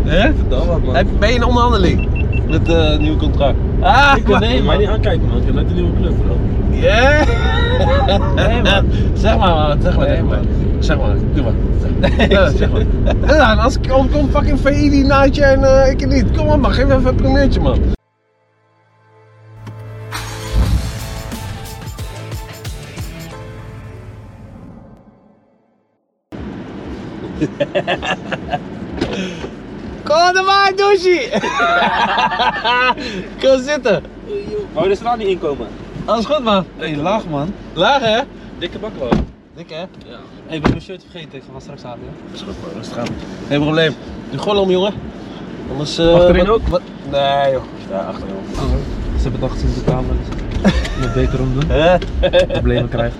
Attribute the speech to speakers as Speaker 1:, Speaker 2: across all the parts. Speaker 1: Hè?
Speaker 2: Vertel wat, man.
Speaker 1: Heb, ben je in onderhandeling met eh, het nieuwe contract? Ah,
Speaker 2: Ik kan nee, maar niet
Speaker 1: man.
Speaker 2: aankijken, man. Ik heb net een nieuwe club, bro.
Speaker 1: Yeah.
Speaker 2: Nee, man.
Speaker 1: Zeg maar, man. Zeg maar,
Speaker 2: Nee,
Speaker 1: zeg maar.
Speaker 2: man.
Speaker 1: Zeg maar, doe maar.
Speaker 2: Nee,
Speaker 3: Eh.
Speaker 1: Ja, zeg maar. Ja, en als ik kom, kom fucking VI die naadje en eh, ik niet. Kom op, man. Geef even een primeurtje, man. Kom er maar, douche! Kom zitten.
Speaker 2: Wou je er straat niet inkomen?
Speaker 1: Alles goed, man.
Speaker 3: Hey, laag man.
Speaker 1: Laag, hè?
Speaker 2: Dikke bak, wel.
Speaker 1: Dik, hè?
Speaker 3: Hey, ik ben mijn shirt vergeten, ik ga van straks halen. joh.
Speaker 1: Is goed, man. Rustig aan. Geen probleem. Doe gewoon om, jongen. Anders... eh,
Speaker 2: Achterin
Speaker 1: wat-
Speaker 2: ook?
Speaker 1: Wat? Nee, joh. Ja, achterin ook.
Speaker 3: Oh. Ze hebben dacht sinds de kamer dus ik moet beter om doen.
Speaker 1: Hè?
Speaker 3: Problemen krijgen.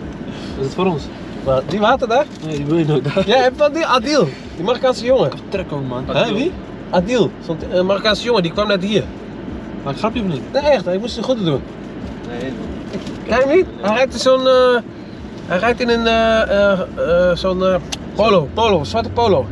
Speaker 3: Is het voor ons?
Speaker 1: Maar die water daar?
Speaker 3: Nee, die wil je nooit.
Speaker 1: Jij hebt dat die Adil, die Marokkaanse jongen.
Speaker 3: Trek ook man.
Speaker 1: Hè, wie? Adil, zo'n eh, Marokkaanse jongen, die kwam net hier.
Speaker 3: Maar ik grapje of niet?
Speaker 1: Nee, echt, hij moest zijn goed doen.
Speaker 2: Nee,
Speaker 1: Kijk hem niet? Hij rijdt in zo'n. eh, hij rijdt in een. eh, eh, eh, zo'n. eh, polo, polo, zwarte polo.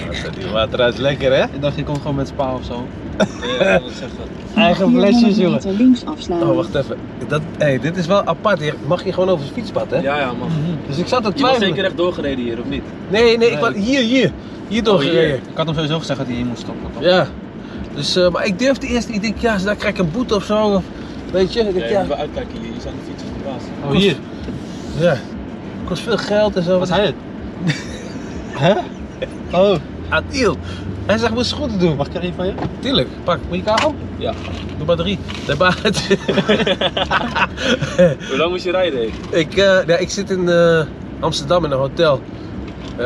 Speaker 1: Eh, Die water is lekker, hè?
Speaker 3: Ik dacht, je komt gewoon met spa of zo.
Speaker 2: nee, dat zegt dat.
Speaker 1: Eigen
Speaker 4: 400
Speaker 1: flesjes, jongen.
Speaker 4: meter eh, links afslaan.
Speaker 1: Oh, wacht even. Dat, hey, dit is wel apart. Hier mag je gewoon over het fietspad, hè?
Speaker 2: Ja, ja, man.
Speaker 1: Dus ik zat te
Speaker 2: Je was
Speaker 1: twijfelen.
Speaker 2: zeker echt doorgereden hier, of niet?
Speaker 1: Nee, nee, ik was hier, hier. Hier doorgereden.
Speaker 3: Oh, Ik had hem sowieso gezegd dat hij hier moest stoppen. toch?
Speaker 1: Ja. Dus, eh, maar ik durfde eerst niet. Ik denk, ja, daar krijg ik een boete of zo. Of, weet je? Ik
Speaker 2: Ja,
Speaker 1: denk,
Speaker 2: je
Speaker 1: ja,
Speaker 2: moet wel uitkijken hier. Hier zijn de fietsers de baas.
Speaker 3: Oh, hier.
Speaker 1: ja. Kost veel geld en zo.
Speaker 3: Was hij het?
Speaker 1: Hè?
Speaker 3: Oh.
Speaker 1: Adil. Hij zegt, moet ze goed doen.
Speaker 3: Mag ik er één van je?
Speaker 1: Tuurlijk. Pak, moet je kabel?
Speaker 2: Ja.
Speaker 1: Doe maar drie. Nee, maar het-
Speaker 2: Hoe lang moest je rijden, hé?
Speaker 1: ik, eh, ja, ik zit in eh, Amsterdam in een hotel. Eh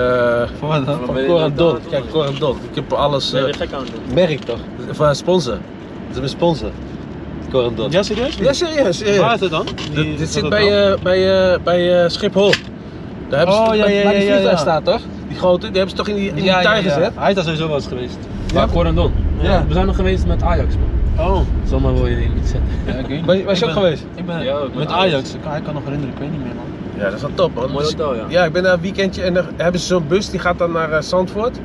Speaker 3: Voor wat
Speaker 2: Maar
Speaker 3: dan?
Speaker 1: van
Speaker 2: ben je in
Speaker 1: Corandon.
Speaker 2: Amsterdam?
Speaker 1: Kijk, Corandon. Ik heb alles...
Speaker 2: Ben je
Speaker 1: eh
Speaker 2: er gek aan het doen?
Speaker 1: merk toch? Van sponsor. Dat is mijn sponsor. Corandon.
Speaker 3: Ja, serieus?
Speaker 1: Ja, serieus. serieus.
Speaker 3: Waar is het dan?
Speaker 1: Dit-
Speaker 3: Die-
Speaker 1: dit
Speaker 3: dat
Speaker 1: zit
Speaker 3: het
Speaker 1: bij,
Speaker 3: dan?
Speaker 1: eh, bij, eh, bij eh, Schiphol. Daar hebben ze
Speaker 3: Oh,
Speaker 1: toch-
Speaker 3: ja,
Speaker 1: waar-
Speaker 3: ja,
Speaker 1: waar die
Speaker 3: ja, ja,
Speaker 1: vliegtuig
Speaker 3: ja.
Speaker 1: staat toch? Die grote, die hebben ze toch in die, in die
Speaker 3: Ja, ja,
Speaker 1: tuin
Speaker 3: ja.
Speaker 1: gezet?
Speaker 3: Hij is daar sowieso wel eens geweest.
Speaker 2: Ja, Corandon.
Speaker 1: Ja.
Speaker 2: We zijn nog geweest met Ajax, man.
Speaker 3: Oh.
Speaker 2: Zomaar wil je niet zetten.
Speaker 3: Ja, ik weet niet.
Speaker 1: Ben je- was je
Speaker 3: Ik
Speaker 1: ook
Speaker 3: ben-
Speaker 1: geweest?
Speaker 3: Ik ben
Speaker 2: Ja, ook met
Speaker 3: met
Speaker 2: Ajax.
Speaker 3: Ajax. Ah, Oh, Ik kan, ik kan nog herinneren, ik weet niet meer man.
Speaker 1: Ja, dat is wel top man.
Speaker 2: Mooi
Speaker 1: Dus-
Speaker 2: hotel, ja.
Speaker 1: Ja, ik ben daar een weekendje en dan hebben ze zo'n bus die gaat dan naar eh, Zandvoort.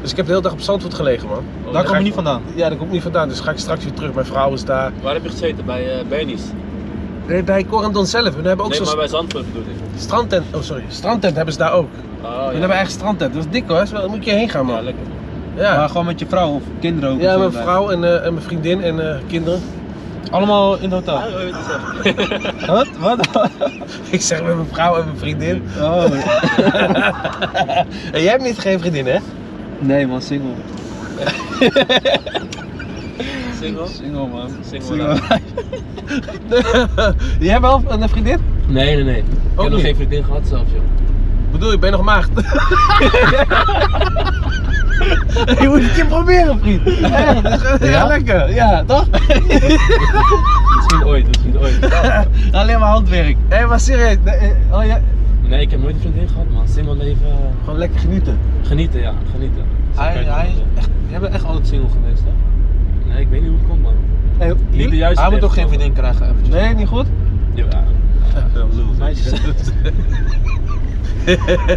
Speaker 1: Dus ik heb de hele dag op Zandvoort gelegen man.
Speaker 2: Oh,
Speaker 3: Daar kom
Speaker 1: ga
Speaker 3: je
Speaker 1: ik
Speaker 3: niet vandaan.
Speaker 1: Ja, daar kom ik niet vandaan, dus ga ik straks weer terug. Mijn vrouw is daar.
Speaker 2: Waar heb je gezeten? Bij eh Bernie's?
Speaker 1: Nee, bij Corandon zelf. We hebben ook
Speaker 2: Nee, maar
Speaker 1: zo'n
Speaker 2: bij Zandvoort bedoel ik.
Speaker 1: strandtent. Oh sorry, strandtent hebben ze daar ook. We
Speaker 2: Oh, ja.
Speaker 1: hebben eigen strandtent. Dat is dik hoor, Dat is wel- daar moet je heen gaan
Speaker 2: Ja,
Speaker 1: man.
Speaker 2: lekker.
Speaker 1: Ja,
Speaker 3: Maar gewoon met je vrouw of kinderen ook.
Speaker 1: ja
Speaker 3: of zo
Speaker 1: mijn
Speaker 3: daar.
Speaker 1: vrouw en, eh, en mijn vriendin en eh, kinderen.
Speaker 3: Allemaal in het hotel.
Speaker 2: Ah, hoe je het zegt.
Speaker 3: Wat? Wat?
Speaker 1: Ik zeg met mijn vrouw en mijn vriendin.
Speaker 3: Oh.
Speaker 1: En jij hebt niet geen vriendin, hè?
Speaker 3: Nee man, single.
Speaker 2: Single?
Speaker 3: Single man.
Speaker 2: Single,
Speaker 1: jij hebt wel een vriendin?
Speaker 2: Nee, nee, nee. Ik heb
Speaker 1: niet.
Speaker 2: nog geen vriendin gehad zelf, joh.
Speaker 1: Bedoel, je bent nog maagd. je moet het je proberen, vriend. Echt, dat is gewoon heel
Speaker 3: Ja?
Speaker 1: lekker. Ja, toch?
Speaker 2: Misschien ooit, misschien ooit.
Speaker 3: Alleen maar handwerk.
Speaker 1: Hé, maar serieus. nee, eh, oh, ja.
Speaker 2: Nee, ik heb nooit een vriendin gehad, man. Single leven. eh,
Speaker 1: Gewoon lekker genieten.
Speaker 2: Genieten, ja. Genieten. Zo kan
Speaker 3: Hij,
Speaker 2: je het
Speaker 3: hij
Speaker 2: noemen.
Speaker 3: is echt, jij bent echt altijd single geweest hè?
Speaker 2: Nee, ik weet niet hoe het komt, man.
Speaker 1: Nee,
Speaker 2: Niet de juiste
Speaker 3: hij moet toch geen
Speaker 2: leeftijd,
Speaker 3: vriendin krijgen eventjes.
Speaker 1: nee niet goed?
Speaker 2: Ja.
Speaker 3: Meisjes.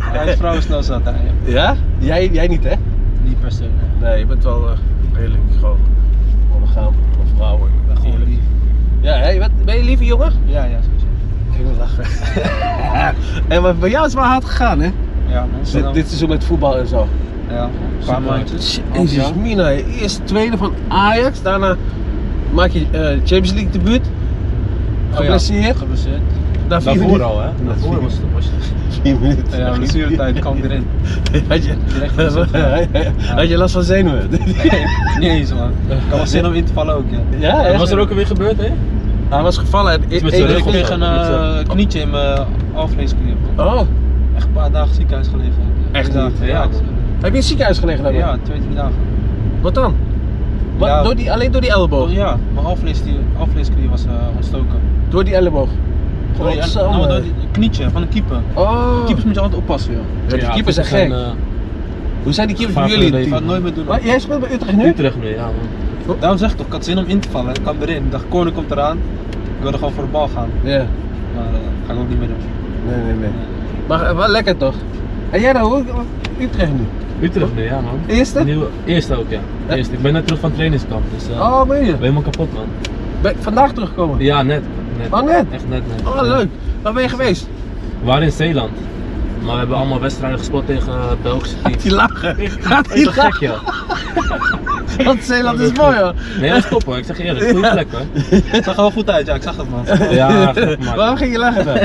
Speaker 3: hij is vrouw snel zat hij. ja.
Speaker 1: Ja? Jij, jij niet, hè?
Speaker 3: Niet per se. nee.
Speaker 1: Nee, je bent wel eh, redelijk gewoon monogaam of vrouwen.
Speaker 3: Ik ben gewoon lief.
Speaker 1: Ja, hè? Je bent- ben je lieve jongen?
Speaker 3: Ja, ja, sowieso.
Speaker 1: Ik wil lachen. en maar bij jou is het wel hard gegaan, hè?
Speaker 3: Ja man.
Speaker 1: Dit,
Speaker 3: snel.
Speaker 1: dit seizoen met voetbal en zo.
Speaker 3: Ja. Een paar maandjes. Half
Speaker 1: Jezus,
Speaker 3: jaar.
Speaker 1: Mina, eerst tweede van Ajax, daarna maak je eh, Champions League debuut. Geblesseerd.
Speaker 3: Geblesseerd.
Speaker 1: Na vier
Speaker 3: Oh, Daarvoor
Speaker 1: minuten.
Speaker 3: al hè?
Speaker 1: Na
Speaker 3: Daarvoor
Speaker 1: vier
Speaker 3: was het. Was het.
Speaker 1: Vier minuten.
Speaker 3: Ja, blessuretijd kwam weer in.
Speaker 1: Had je,
Speaker 3: Direct gezet,
Speaker 1: had je last van zenuwen?
Speaker 3: Niet eens man. Ik had wel zin om in te vallen ook ja.
Speaker 1: ja,
Speaker 2: Wat
Speaker 1: echt?
Speaker 2: was er ook alweer gebeurd, hè?
Speaker 1: Hij was gevallen en
Speaker 2: met
Speaker 1: één
Speaker 2: zijn
Speaker 3: Ik
Speaker 2: rug
Speaker 1: seconde.
Speaker 3: kreeg een eh, knietje in mijn alvleesklier.
Speaker 1: Oh,
Speaker 3: Echt een paar dagen ziekenhuis gelegen.
Speaker 1: Echt
Speaker 3: Drie
Speaker 1: niet?
Speaker 3: dagen, Ja,
Speaker 1: heb je in het ziekenhuis gelegen
Speaker 3: ja,
Speaker 1: dan?
Speaker 3: twee, drie dagen.
Speaker 1: Wat dan? Wat,
Speaker 3: Ja.
Speaker 1: door die, alleen door die elleboog?
Speaker 3: Oh, ja, mijn alvleesklier, alvleesklier was eh, ontstoken.
Speaker 1: Door die elleboog?
Speaker 3: Door die-
Speaker 1: Godsamme.
Speaker 3: nou, door die- een knietje van een keeper.
Speaker 1: Oh,
Speaker 3: Keepers moet je altijd oppassen, joh.
Speaker 1: Ja, die keepers zijn
Speaker 3: eh,
Speaker 1: gek. Hoe zijn die keepers bij
Speaker 2: Gevaar
Speaker 1: jullie?
Speaker 2: voor
Speaker 1: in het team?
Speaker 3: Ik ga het nooit
Speaker 2: het
Speaker 3: meer doen.
Speaker 1: Maar jij speelt bij Utrecht nu?
Speaker 2: Utrecht nu, ja, man.
Speaker 3: Daarom zeg ik toch, ik had zin om in te vallen. Ik kwam erin. Ik dacht, corner komt eraan. Ik wilde gewoon voor de bal gaan.
Speaker 1: Ja.
Speaker 3: Maar eh, ga ik ook niet meer doen.
Speaker 1: Nee, nee, nee. Maar eh, wel lekker toch? Hé, En jij nou, hoe- hoe- Utrecht nu?
Speaker 2: Utrecht nu, ja man.
Speaker 1: Eerste?
Speaker 2: Nieuwe, eerste ook, ja.
Speaker 1: Ja.
Speaker 2: Eerste. Ik ben net terug van trainingskamp, dus eh
Speaker 1: Oh, ben
Speaker 2: ik
Speaker 1: je?
Speaker 2: ben helemaal kapot man.
Speaker 1: Ben je vandaag teruggekomen?
Speaker 2: Ja, net. net.
Speaker 1: Oh, net?
Speaker 2: Echt net, net.
Speaker 1: Oh, leuk. Waar ben je geweest?
Speaker 2: We waren in Zeeland. Maar we hebben allemaal wedstrijden gespeeld tegen eh, Belgische teams.
Speaker 1: Die lachen. Gaat die
Speaker 2: Dat is gek,
Speaker 1: lachen?
Speaker 2: ja.
Speaker 1: Want Zeeland is mooi hoor.
Speaker 2: Nee, dat is top hoor. Ik zeg je eerlijk, goede plek hoor.
Speaker 3: Het zag er wel goed uit, ja, ik zag het man.
Speaker 2: Ja, gek man.
Speaker 1: Waarom ging je lachen dan?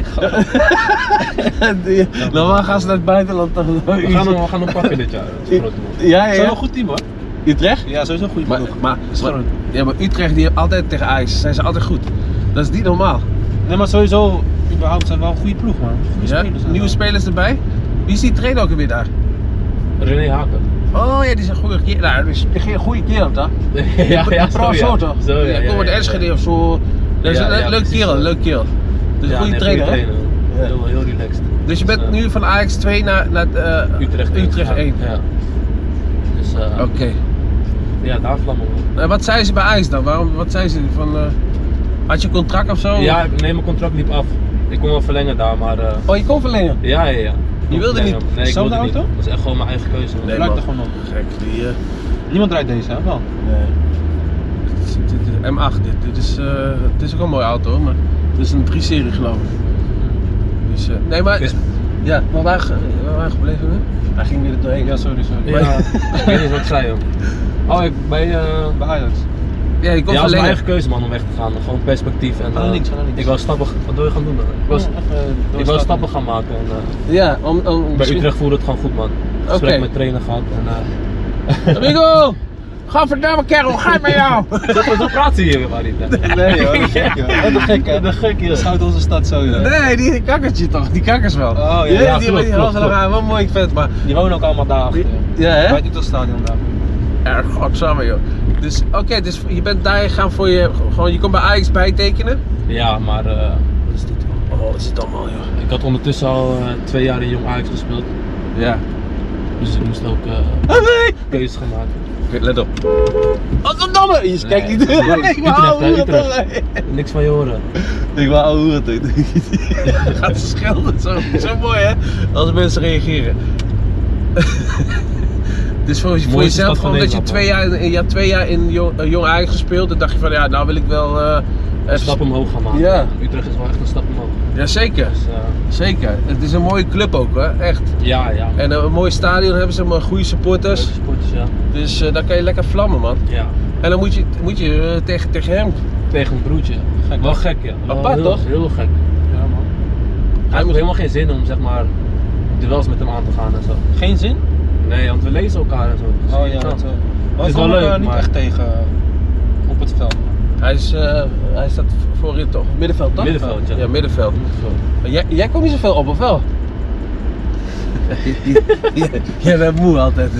Speaker 1: Die- Normaal gaan ze naar het buitenland toch?
Speaker 2: We gaan hem, we gaan hem pakken dit jaar. Dat is groot, man.
Speaker 1: Ja, ja,
Speaker 3: Zo wel
Speaker 1: ja.
Speaker 3: een goed team hoor.
Speaker 1: Utrecht?
Speaker 3: Ja, sowieso een goede
Speaker 1: Maar,
Speaker 3: ploeg.
Speaker 1: maar, maar,
Speaker 3: Schoon.
Speaker 1: ja, maar Utrecht die altijd tegen ijs, zijn ze altijd goed. Dat is niet normaal.
Speaker 3: Nee, maar sowieso, überhaupt zijn we wel een goede ploeg man. Goede
Speaker 1: Ja?
Speaker 3: spelers. zijn
Speaker 1: Nieuwe
Speaker 3: wel.
Speaker 1: spelers erbij. Wie is die trainer ook weer daar?
Speaker 2: René Haken.
Speaker 1: Oh ja, die is een goede keer. Nou, die is geen goede kerel toch?
Speaker 2: ja, ja,
Speaker 1: Een pro
Speaker 2: zo, ja.
Speaker 1: zo toch?
Speaker 2: Zo, ja, ja,
Speaker 1: Kom met
Speaker 2: ja, ja.
Speaker 1: Enschede of zo. Dat is
Speaker 2: Ja,
Speaker 1: een le-
Speaker 2: ja,
Speaker 1: leuk
Speaker 2: precies.
Speaker 1: kerel, leuk kerel. Dus een
Speaker 2: Ja,
Speaker 1: goede
Speaker 2: nee,
Speaker 1: trainer hè?
Speaker 2: trainer. Heel, heel relaxed.
Speaker 1: Dus je bent
Speaker 2: Dus, eh,
Speaker 1: nu van Ajax 2 naar, naar eh,
Speaker 2: Utrecht
Speaker 1: Utrecht 1.
Speaker 2: Ja. ja. Dus eh
Speaker 1: Oké.
Speaker 2: ja, daar vlammen we.
Speaker 1: En wat zei ze bij Ajax dan? Waarom, wat zei ze? Van, eh, had je contract of zo?
Speaker 2: Ja, ik- nee, mijn contract liep af. Ik kon wel verlengen daar, maar. eh,
Speaker 1: Oh, je kon verlengen?
Speaker 2: ja, ja, ja.
Speaker 1: Je wilde
Speaker 2: Nee,
Speaker 1: niet?
Speaker 2: Nee, ik
Speaker 3: Zelfde
Speaker 2: wilde niet.
Speaker 3: auto?
Speaker 2: Dat is echt gewoon mijn eigen keuze. man.
Speaker 1: Nee,
Speaker 3: Lijkt
Speaker 1: man.
Speaker 3: er gewoon op.
Speaker 1: Gek, die... eh,
Speaker 3: Niemand rijdt deze, hè? Wel.
Speaker 1: Nee. Dit is, dit is M8, dit, dit is, eh, het is ook een mooie auto, hoor, maar het is een 3-serie geloof ik. Dus, eh, nee, maar...
Speaker 2: Is-
Speaker 1: Ja, maar waar, ge- waar waren we gebleven? hè? Hij ging weer doorheen.
Speaker 3: Ja, sorry, sorry.
Speaker 2: Ja, ik weet niet wat ik zei, joh. Oh, ik bij. eh,
Speaker 3: Bij Ajax.
Speaker 1: Ja, ik kon
Speaker 2: ja, het was mijn
Speaker 1: verlengen.
Speaker 2: eigen keuze man om weg te gaan. Gewoon perspectief. En,
Speaker 3: Ga naar
Speaker 2: eh,
Speaker 3: links, ga naar links.
Speaker 2: Ik wou stappen. Wat wil je gaan doen dan? Ik was, ik wou stappen gaan maken. En, eh,
Speaker 1: Ja, om... om
Speaker 2: bij
Speaker 1: misschien-
Speaker 2: Utrecht voelde het gewoon goed man. Gesprek
Speaker 1: Oké.
Speaker 2: met trainer gehad. En, eh
Speaker 1: Amigo! Ga verdamme kerel, ga met jou!
Speaker 2: zo, zo praat ze hier weer maar niet. Hè.
Speaker 3: Nee joh, wat een gek joh. Wat een gek hè.
Speaker 2: Wat een gek, joh.
Speaker 3: Dat schouwt onze stad zo joh.
Speaker 1: Nee, die kakkertje toch, die kakkers wel.
Speaker 3: ja,
Speaker 1: die,
Speaker 2: ja,
Speaker 1: die,
Speaker 2: klopt,
Speaker 1: die
Speaker 2: klopt,
Speaker 1: was wel
Speaker 2: klopt.
Speaker 1: raar, wel mooi vet, maar...
Speaker 3: Die wonen ook allemaal daar achter. joh.
Speaker 1: Ja, hè?
Speaker 3: Bij het Utrecht Stadion daar.
Speaker 1: Erg godsamme joh. Dus oké, dus je bent daar gaan voor je, gewoon, je kon bij Ajax bijtekenen.
Speaker 2: Ja, maar eh, wat is dit joh?
Speaker 1: Oh, wat is het allemaal joh.
Speaker 2: Ik had ondertussen al eh, twee jaar in Jong Ajax gespeeld.
Speaker 1: Ja.
Speaker 2: Dus ik moest ook eh
Speaker 1: Ah,
Speaker 2: keuzes gaan maken.
Speaker 1: Oké, let op. Godverdomme! Ah, Je kijkt
Speaker 2: Nee,
Speaker 1: niet.
Speaker 2: dat is
Speaker 1: Ik
Speaker 2: leuk.
Speaker 1: wil
Speaker 2: Utrecht,
Speaker 1: ouwe
Speaker 2: hè,
Speaker 1: hoeren
Speaker 2: Utrecht.
Speaker 1: tegelijk.
Speaker 2: Niks van je horen.
Speaker 1: Ik wil ouwe hoeren tegelijk. Gaat ze schelden. Zo, zo mooi hè. Als mensen reageren. Dus voor, voor
Speaker 2: Mooiste
Speaker 1: jezelf
Speaker 2: stad van
Speaker 1: gewoon dat je
Speaker 2: Nederland,
Speaker 1: twee jaar, in- je had twee jaar in Jong, eh, jong Ajax gespeeld. Dan dacht je van ja, nou wil ik wel... eh
Speaker 2: Een
Speaker 1: even-
Speaker 2: stap omhoog gaan maken.
Speaker 1: Ja.
Speaker 2: Utrecht is wel echt een stap omhoog.
Speaker 1: Jazeker,
Speaker 2: Dus eh,
Speaker 1: zeker. Het is een mooie club ook hè, echt.
Speaker 2: ja, ja.
Speaker 1: En een mooi stadion hebben ze, maar goede supporters.
Speaker 2: Leuke sportjes, ja.
Speaker 1: Dus eh, daar kan je lekker vlammen, man.
Speaker 2: ja.
Speaker 1: En dan moet je, moet je eh, tegen, tegen hem.
Speaker 2: Tegen een broertje.
Speaker 3: Gek,
Speaker 2: wel
Speaker 3: hè?
Speaker 2: gek, ja. Wel
Speaker 1: Apart,
Speaker 2: heel,
Speaker 1: toch?
Speaker 2: Heel gek.
Speaker 3: Ja man.
Speaker 2: Hij heeft helemaal geen zin om, zeg maar, duels met hem aan te gaan en zo.
Speaker 3: Geen zin?
Speaker 2: Nee, want we lezen elkaar en zo. Dus
Speaker 3: Oh
Speaker 2: je
Speaker 3: ja,
Speaker 2: kan-
Speaker 3: dat zo.
Speaker 2: Het
Speaker 3: We
Speaker 2: is wel
Speaker 3: komen
Speaker 2: leuk,
Speaker 3: elkaar eh, niet
Speaker 2: maar-
Speaker 3: echt tegen eh, op het veld.
Speaker 1: Hij, is, eh, hij staat voorin toch? Middenveld toch?
Speaker 2: Middenveld, ja.
Speaker 1: Ja, middenveld. Maar jij, jij komt niet zoveel op, of wel? Jij- jij bent moe altijd.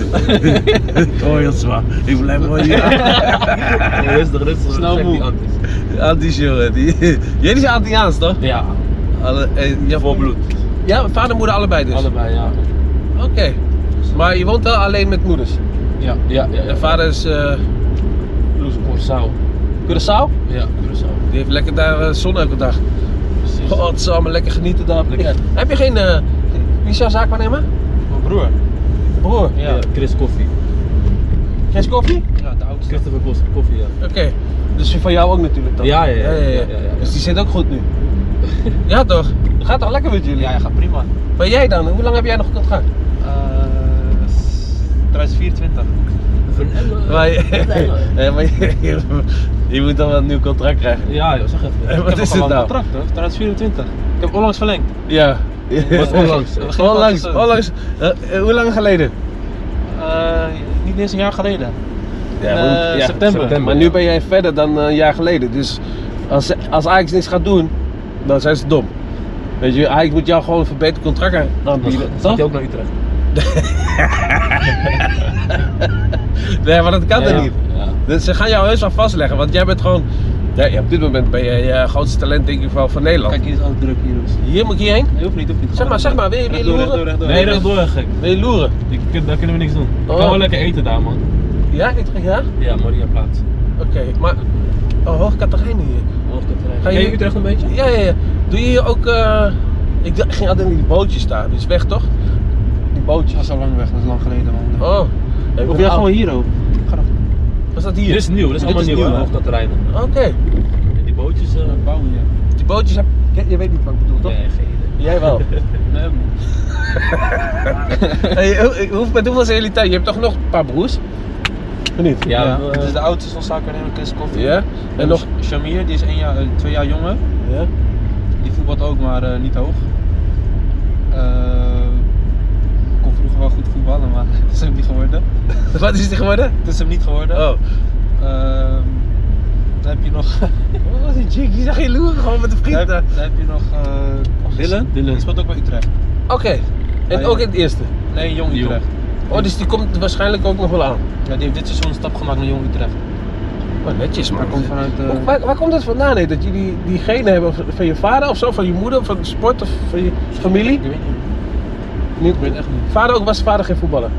Speaker 1: ik hoor je het zwaar. Ik blijf mooi hier.
Speaker 2: Rustig, rustig.
Speaker 3: Snel
Speaker 2: Gek, die
Speaker 3: moe.
Speaker 2: antis.
Speaker 1: Anti's jongen. die- Jullie zijn Antiaans toch?
Speaker 2: Ja,
Speaker 1: Alle, en, ja,
Speaker 2: voor bloed.
Speaker 1: Ja, vader en moeder allebei dus?
Speaker 2: Allebei, ja.
Speaker 1: Oké. Maar je woont wel alleen met moeders?
Speaker 2: Ja, ja, ja.
Speaker 1: Je vader is eh
Speaker 2: Curaçao.
Speaker 1: Curaçao?
Speaker 2: Ja, Curaçao.
Speaker 1: Die heeft lekker daar eh, zon elke dag.
Speaker 2: Precies.
Speaker 1: Godsamme, lekker genieten daar.
Speaker 2: Lekker.
Speaker 1: Ja. Heb je geen... eh, wie is jouw zaakwaarnemer?
Speaker 3: Mijn broer.
Speaker 1: Broer.
Speaker 2: Ja, Chris Koffie.
Speaker 1: Chris Koffie?
Speaker 3: Ja, de oudste.
Speaker 2: Christopher Kos- Koffie, ja.
Speaker 1: Oké. Dus van jou ook natuurlijk dan?
Speaker 2: Ja, ja, ja, ja, ja, ja.
Speaker 1: Dus die zit ook goed nu? ja toch? Het gaat toch lekker met jullie?
Speaker 3: Ja, hij gaat prima.
Speaker 1: Maar jij dan? Hoe lang heb jij nog contract?
Speaker 3: Eh, s- 2024.
Speaker 1: Maar, ja, maar je, je moet dan wel een nieuw contract krijgen.
Speaker 2: Ja, joh, zeg even.
Speaker 1: Wat
Speaker 3: Ik heb
Speaker 1: is
Speaker 3: nog wel
Speaker 1: het nou?
Speaker 3: een contract hoor, 2024. Ik heb onlangs verlengd.
Speaker 1: Ja.
Speaker 2: Wat onlangs?
Speaker 3: We gingen
Speaker 1: Onlangs,
Speaker 3: altijd zo.
Speaker 1: onlangs. Eh, eh, hoe lang geleden?
Speaker 3: Eh, niet eens een jaar geleden.
Speaker 1: Ja,
Speaker 3: Eh,
Speaker 1: want- ja,
Speaker 3: september.
Speaker 1: Maar nu ben jij verder dan eh, een jaar geleden. Dus als, als Ajax niks gaat doen, dan zijn ze dom. Weet je, Ajax moet jou gewoon een verbeterd contract aanbieden.
Speaker 2: Gaat
Speaker 1: Toch?
Speaker 2: hij ook naar Utrecht?
Speaker 1: Nee, maar dat kan
Speaker 2: Ja,
Speaker 1: toch
Speaker 2: ja.
Speaker 1: niet?
Speaker 2: Ja.
Speaker 1: Dus ze gaan jou heus wel vastleggen, want jij bent gewoon... Ja, ja, op dit moment ben jij eh, grootste talent denk ik wel van Nederland.
Speaker 3: Kijk, hier is altijd druk hier. Dus.
Speaker 1: Hier moet ik hierheen.
Speaker 3: Nee, hoeft niet, hoeft niet.
Speaker 1: Zeg maar, zeg maar, wil je, wil je
Speaker 3: Rechtdoor, rechtdoor,
Speaker 1: loeren?
Speaker 3: rechtdoor.
Speaker 2: Nee, rechtdoor, gek.
Speaker 1: Wil je loeren?
Speaker 2: Die kun- Daar kunnen we niks doen. Ik kan
Speaker 1: Oh.
Speaker 2: wel lekker eten daar, man.
Speaker 1: Ja, Utrecht, ja?
Speaker 2: Ja, Maria Plaats.
Speaker 1: Oké, maar... Oh, hoog Catharijnen hier.
Speaker 2: Ga
Speaker 1: Ken
Speaker 2: je
Speaker 1: je
Speaker 2: Utrecht een beetje?
Speaker 1: Ja, ja, ja. Doe je hier ook... eh, Ik dacht- ik ging altijd in die bootjes daar, die is weg toch? Die bootjes.
Speaker 3: Dat is al lang weg, dat is lang geleden man.
Speaker 1: Oh. Ja, ik
Speaker 3: of
Speaker 1: ben
Speaker 3: jij
Speaker 1: oud.
Speaker 3: gewoon hier ook.
Speaker 1: Wat staat
Speaker 2: Dit
Speaker 1: hier?
Speaker 2: is nieuw, dit is allemaal
Speaker 3: is
Speaker 2: nieuw,
Speaker 3: nieuw,
Speaker 2: hè,
Speaker 3: hè?
Speaker 2: op dat terrein.
Speaker 1: Oké.
Speaker 2: En die bootjes... eh,
Speaker 3: bouwen hier.
Speaker 1: Die bootjes heb... Je, je weet niet wat ik bedoel, toch?
Speaker 2: nee, geen idee.
Speaker 1: Jij wel.
Speaker 3: Nee man.
Speaker 1: hey, hoe- hoe- met hoeveel zijn jullie thuis? Je hebt toch nog een paar broers? Of niet?
Speaker 2: Ja,
Speaker 3: Ja,
Speaker 2: we-
Speaker 3: het is de oudste van Zaken en Chris Koffie.
Speaker 1: Ja? En nog...
Speaker 3: Shamir, die is één jaar, eh, twee jaar jonger.
Speaker 1: Ja?
Speaker 3: Die voetbalt ook, maar eh, niet hoog. Eh, kon vroeger wel goed voetballen, maar het is hem niet geworden.
Speaker 1: Wat is die geworden?
Speaker 3: Het is hem niet geworden.
Speaker 1: Oh.
Speaker 3: Ehm, dan heb je nog.
Speaker 1: Wat was die chick? Die zag je loeren gewoon met de
Speaker 3: dan, heb,
Speaker 1: vriend. daar.
Speaker 3: dan heb je nog. eh Dylan.
Speaker 2: Dylan.
Speaker 3: Die speelt ook bij Utrecht.
Speaker 1: Oké. En
Speaker 3: Ja,
Speaker 1: ook
Speaker 3: ja.
Speaker 1: in het eerste.
Speaker 3: Nee, Jong
Speaker 2: Jong.
Speaker 3: Utrecht.
Speaker 1: Oh, dus die komt waarschijnlijk ook nog wel aan.
Speaker 3: Ja, die heeft dit seizoen een stap gemaakt naar Jong Utrecht.
Speaker 1: Oh, netjes
Speaker 3: Hij
Speaker 1: man.
Speaker 3: komt vanuit. eh,
Speaker 1: Waar, waar komt dat vandaan? Hè? Dat jullie die genen hebben van- van je vader of zo, van je moeder, van de sport of van je familie?
Speaker 3: ik weet niet.
Speaker 1: Niet
Speaker 3: Ik weet echt niet.
Speaker 1: Vader ook, was vader geen voetballer?